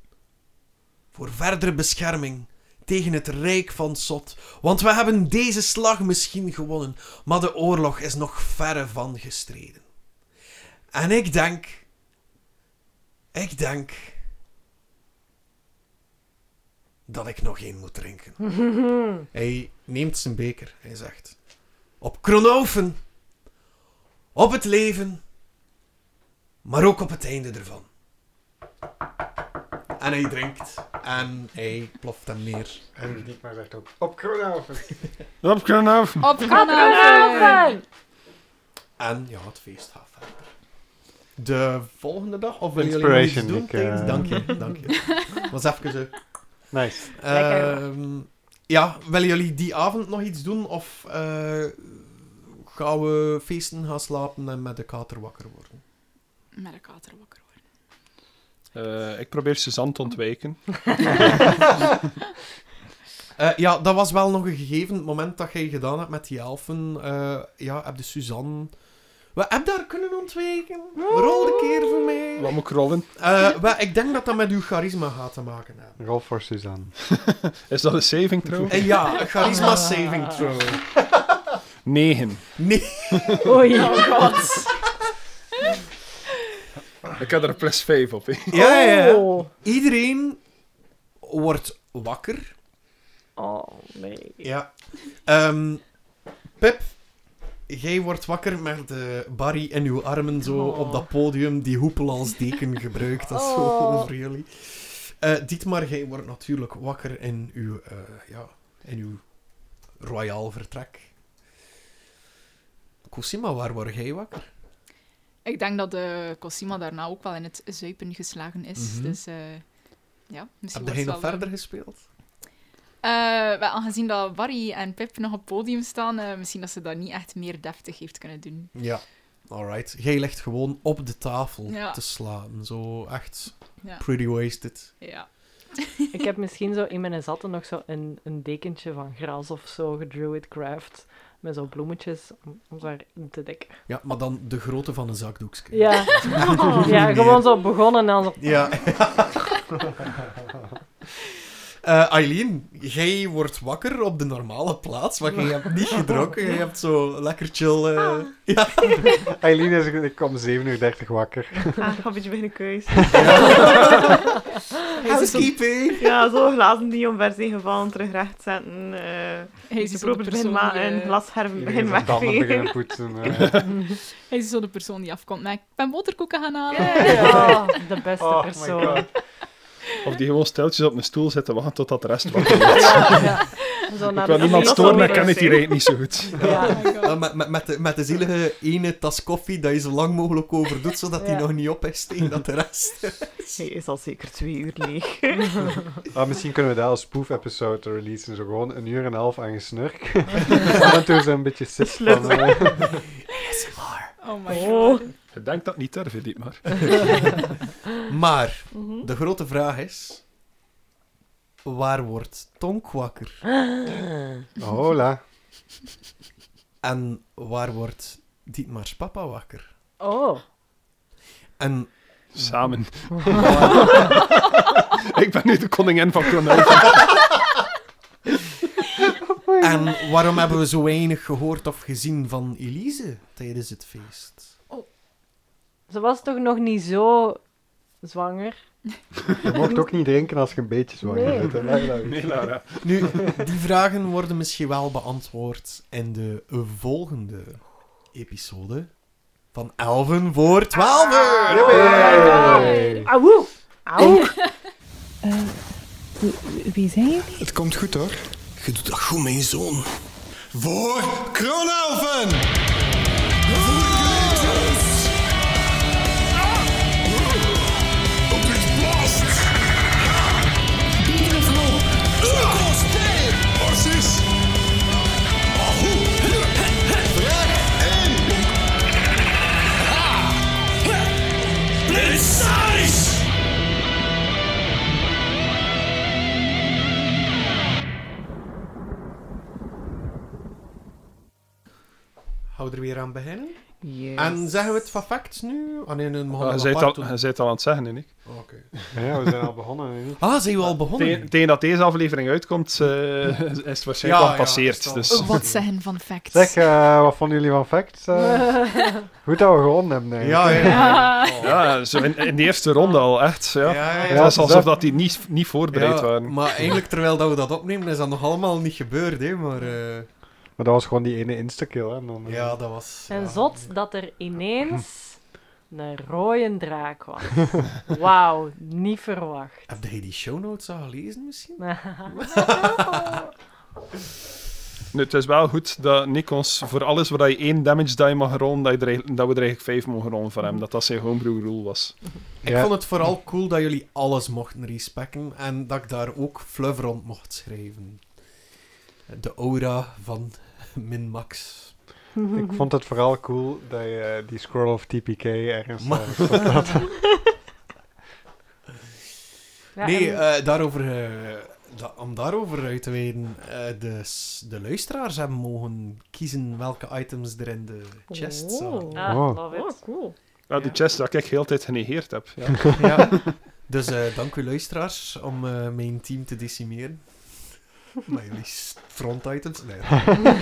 Speaker 1: voor verdere bescherming tegen het rijk van Sot. Want we hebben deze slag misschien gewonnen, maar de oorlog is nog verre van gestreden. En ik denk, ik denk dat ik nog één moet drinken. hij neemt zijn beker, hij zegt. Op Kronoven, op het leven maar ook op het einde ervan. En hij drinkt en hij ploft hem neer.
Speaker 2: En Dietmar zegt ook, op Kronhaven.
Speaker 3: Op Kronhaven.
Speaker 6: Op
Speaker 1: En ja, het feest gaat verder. De volgende dag? Of willen jullie nog iets
Speaker 2: Inspiration,
Speaker 1: doen?
Speaker 2: ik,
Speaker 1: tijdens-
Speaker 2: eh.
Speaker 1: Dank je, dank
Speaker 2: <laughs>
Speaker 1: je. was even zo.
Speaker 2: Nice.
Speaker 4: Lekker.
Speaker 1: Ehm, ja, willen jullie die avond nog iets doen? Of eh, gaan we feesten gaan slapen en met de kater wakker worden?
Speaker 6: Met een kater wakker worden.
Speaker 3: Eh, ik probeer Suzanne te ontwijken.
Speaker 1: Eh, ja, dat was wel nog een gegeven het moment dat jij gedaan hebt met die elfen. eh, ja, heb de Suzanne... We hebben daar kunnen ontwijken. Rol de keer voor mij.
Speaker 3: Wat moet ik rollen?
Speaker 1: Eh, wel, ik denk dat dat met uw charisma gaat te maken hebben.
Speaker 2: Rol voor Suzanne.
Speaker 3: Is dat een saving throw?
Speaker 1: Eh, ja, een charisma saving throw.
Speaker 3: 9.
Speaker 1: Nee.
Speaker 4: Oei, oh god.
Speaker 3: Ik had er een plus 5 op. hè.
Speaker 1: Ja, ja, ja.
Speaker 4: Oh.
Speaker 1: Iedereen wordt wakker.
Speaker 4: Oh, nee.
Speaker 1: Ja. Ehm, Pip, jij wordt wakker met de Barry in uw armen zo
Speaker 4: Oh.
Speaker 1: op dat podium, die hoepel als deken gebruikt. Dat is zo
Speaker 4: Oh.
Speaker 1: over jullie. Eh Dietmar, jij wordt natuurlijk wakker in uw, eh, ja, in uw royaal vertrek. Cosima, waar word jij wakker?
Speaker 6: Ik denk dat de Cosima daarna ook wel in het zuipen geslagen is.
Speaker 1: Mhm.
Speaker 6: Dus eh, ja, misschien
Speaker 1: Heb jij
Speaker 6: was
Speaker 1: nog
Speaker 6: het wel-
Speaker 1: verder gespeeld?
Speaker 6: Eh, wel, aangezien dat Barry en Pip nog op het podium staan, eh, misschien dat ze dat niet echt meer deftig heeft kunnen doen.
Speaker 1: Ja. Alright. Jij ligt gewoon op de tafel
Speaker 6: Ja.
Speaker 1: te slapen. Zo echt
Speaker 6: Ja.
Speaker 1: pretty wasted.
Speaker 6: Ja.
Speaker 4: Ik heb misschien zo in mijn zatten nog zo een, een dekentje van gras of zo, gedruid craft, met zo bloemetjes om, om daar in te dekken.
Speaker 1: Ja, maar dan de grootte van een zakdoekje.
Speaker 4: Ja, <laughs> ja gewoon zo begonnen en dan zo...
Speaker 1: Ja. <laughs> Eh, Aileen, jij wordt wakker op de normale plaats, maar jij hebt niet gedronken. Jij hebt zo lekker chill... eh, Ja.
Speaker 2: Eileen is ik om 7.30 uur wakker.
Speaker 5: Ah, ik heb een beetje mijn keus.
Speaker 4: Ah.
Speaker 1: Housekeeping!
Speaker 5: Ja, zo glazen die omver zijn gevallen, terug recht zetten. eh
Speaker 6: Hij is
Speaker 5: de
Speaker 6: zo de
Speaker 5: proper begin
Speaker 6: persoon,
Speaker 5: maken,
Speaker 6: eh,
Speaker 5: glasscherven
Speaker 2: Iedereen
Speaker 5: begin
Speaker 2: zijn tanden
Speaker 5: wegvegen.
Speaker 2: beginnen poetsen. eh.
Speaker 6: hij is zo de persoon die afkomt. Maar ik ben boterkoeken gaan halen. <laughs>
Speaker 4: Oh, de beste
Speaker 2: Oh my
Speaker 4: persoon.
Speaker 2: God.
Speaker 3: Of die gewoon steltjes op mijn stoel zitten wachten totdat de rest wakker wordt.
Speaker 4: Ja, ja. Zo
Speaker 3: Ik
Speaker 4: naar
Speaker 3: wil
Speaker 4: de
Speaker 3: niemand
Speaker 4: zee
Speaker 3: storen, maar ik
Speaker 4: lopen.
Speaker 3: ken het hier eigenlijk niet zo goed.
Speaker 4: Ja.
Speaker 6: Oh
Speaker 1: Eh, met, met, met, de, met de zielige ene tas koffie dat je zo lang mogelijk over doet, zodat die
Speaker 4: Ja.
Speaker 1: nog niet op is tegen dat de
Speaker 4: <laughs>
Speaker 1: rest.
Speaker 5: Hij is al zeker twee uur leeg.
Speaker 2: Ah, misschien kunnen we daar als spoof-episode releasen. Zo gewoon een uur en een half aan gesnurk. en dan doen ze een beetje sit van... eh,
Speaker 6: Oh my
Speaker 5: Oh.
Speaker 6: god.
Speaker 3: Je denkt dat niet durven, dit maar.
Speaker 1: Maar,
Speaker 4: Mhm.
Speaker 1: de grote vraag is... Waar wordt Tonk wakker?
Speaker 2: eh, hola.
Speaker 1: En waar wordt Dietmar's papa wakker?
Speaker 4: Oh.
Speaker 1: En
Speaker 3: Samen.
Speaker 1: Oh.
Speaker 3: <laughs> ik ben nu de koningin van
Speaker 1: Oh,
Speaker 3: Kronel.
Speaker 1: En waarom hebben we zo weinig gehoord of gezien van Elise tijdens het feest?
Speaker 4: Ze was toch nog niet zo zwanger?
Speaker 2: Je mocht ook niet drinken als je een beetje zwanger
Speaker 4: Nee.
Speaker 2: bent. hè. Leg dat uit.
Speaker 3: Nee, Lara.
Speaker 1: Nu, die vragen worden misschien wel beantwoord in de volgende episode van Elven voor 12.
Speaker 2: Hey.
Speaker 4: Auw! Auw!
Speaker 5: Wie zijn jullie?
Speaker 7: Het komt goed hoor. Je doet dat goed, mijn zoon. Voor Kronelven! Voor Kronelven! Op dit blast! Beavervlow! Cirkels! Horses! Blitz!
Speaker 1: Hou er weer aan beginnen.
Speaker 5: Yes.
Speaker 1: En zeggen we het van facts nu? Ah nee, dan mogen
Speaker 3: Je
Speaker 1: we
Speaker 3: zei het
Speaker 1: apart
Speaker 3: al-
Speaker 1: doen.
Speaker 3: je zei het al aan het zeggen, hè, Nick.
Speaker 1: Oké.
Speaker 2: Ja, we zijn al begonnen. hè.
Speaker 1: Ah, zijn we al
Speaker 3: Tegen
Speaker 1: begonnen?
Speaker 3: tegen dat deze aflevering uitkomt, eh, is het
Speaker 1: Ja,
Speaker 3: waarschijnlijk al
Speaker 1: ja,
Speaker 3: gepasseerd.
Speaker 1: is het al.
Speaker 3: dus.
Speaker 6: Wat zeggen van facts?
Speaker 2: Zeg, eh, wat vonden jullie van facts? eh? goed dat we gewonnen hebben, eigenlijk.
Speaker 1: Ja, ja. ja.
Speaker 3: Ja, zo in, in de eerste ronde al, echt. Ja.
Speaker 1: ja,
Speaker 3: Het
Speaker 1: ja.
Speaker 3: was
Speaker 2: dat-
Speaker 3: alsof dat die niet, niet voorbereid
Speaker 1: Ja,
Speaker 3: waren.
Speaker 1: maar eigenlijk, terwijl dat we dat opnemen, is dat nog allemaal niet gebeurd, hè. Maar eh,
Speaker 2: Maar dat was gewoon die ene instakill, hè. en dan, eh,
Speaker 1: ja, dat was...
Speaker 4: En
Speaker 1: ja.
Speaker 4: zot dat er ineens <laughs> een rode draak was. Wauw, niet
Speaker 1: <laughs>
Speaker 4: verwacht.
Speaker 1: Heb jij die show notes al gelezen, misschien?
Speaker 3: Nu, het is wel goed dat Nick ons voor alles waar je één damage die mag rollen, dat, je er eigenlijk- dat we er eigenlijk vijf mogen rollen van hem. Dat dat zijn homebrew rule was.
Speaker 1: Ik
Speaker 2: Ja.
Speaker 1: vond het vooral cool dat jullie alles mochten respecken en dat ik daar ook fluff rond mocht schrijven. De aura van <laughs> min max.
Speaker 2: Ik vond het vooral cool dat je eh, die scroll of TPK ergens... eh,
Speaker 1: Maar-
Speaker 2: ergens op had.
Speaker 4: Ja,
Speaker 1: nee,
Speaker 4: en-
Speaker 1: eh, daarover, eh, da- om daarover uit te wijden, eh, de, s- de luisteraars hebben mogen kiezen welke items er in de chest zaten.
Speaker 5: Oh.
Speaker 4: ah,
Speaker 2: oh.
Speaker 4: love
Speaker 5: Oh,
Speaker 4: it.
Speaker 5: cool.
Speaker 3: Ja, die
Speaker 1: Ja.
Speaker 3: chest dat ik heel de tijd genegeerd heb. Ja.
Speaker 1: Ja. <laughs> Dus eh, dank u luisteraars om eh, mijn team te decimeren. Maar jullie s- front items? Nee.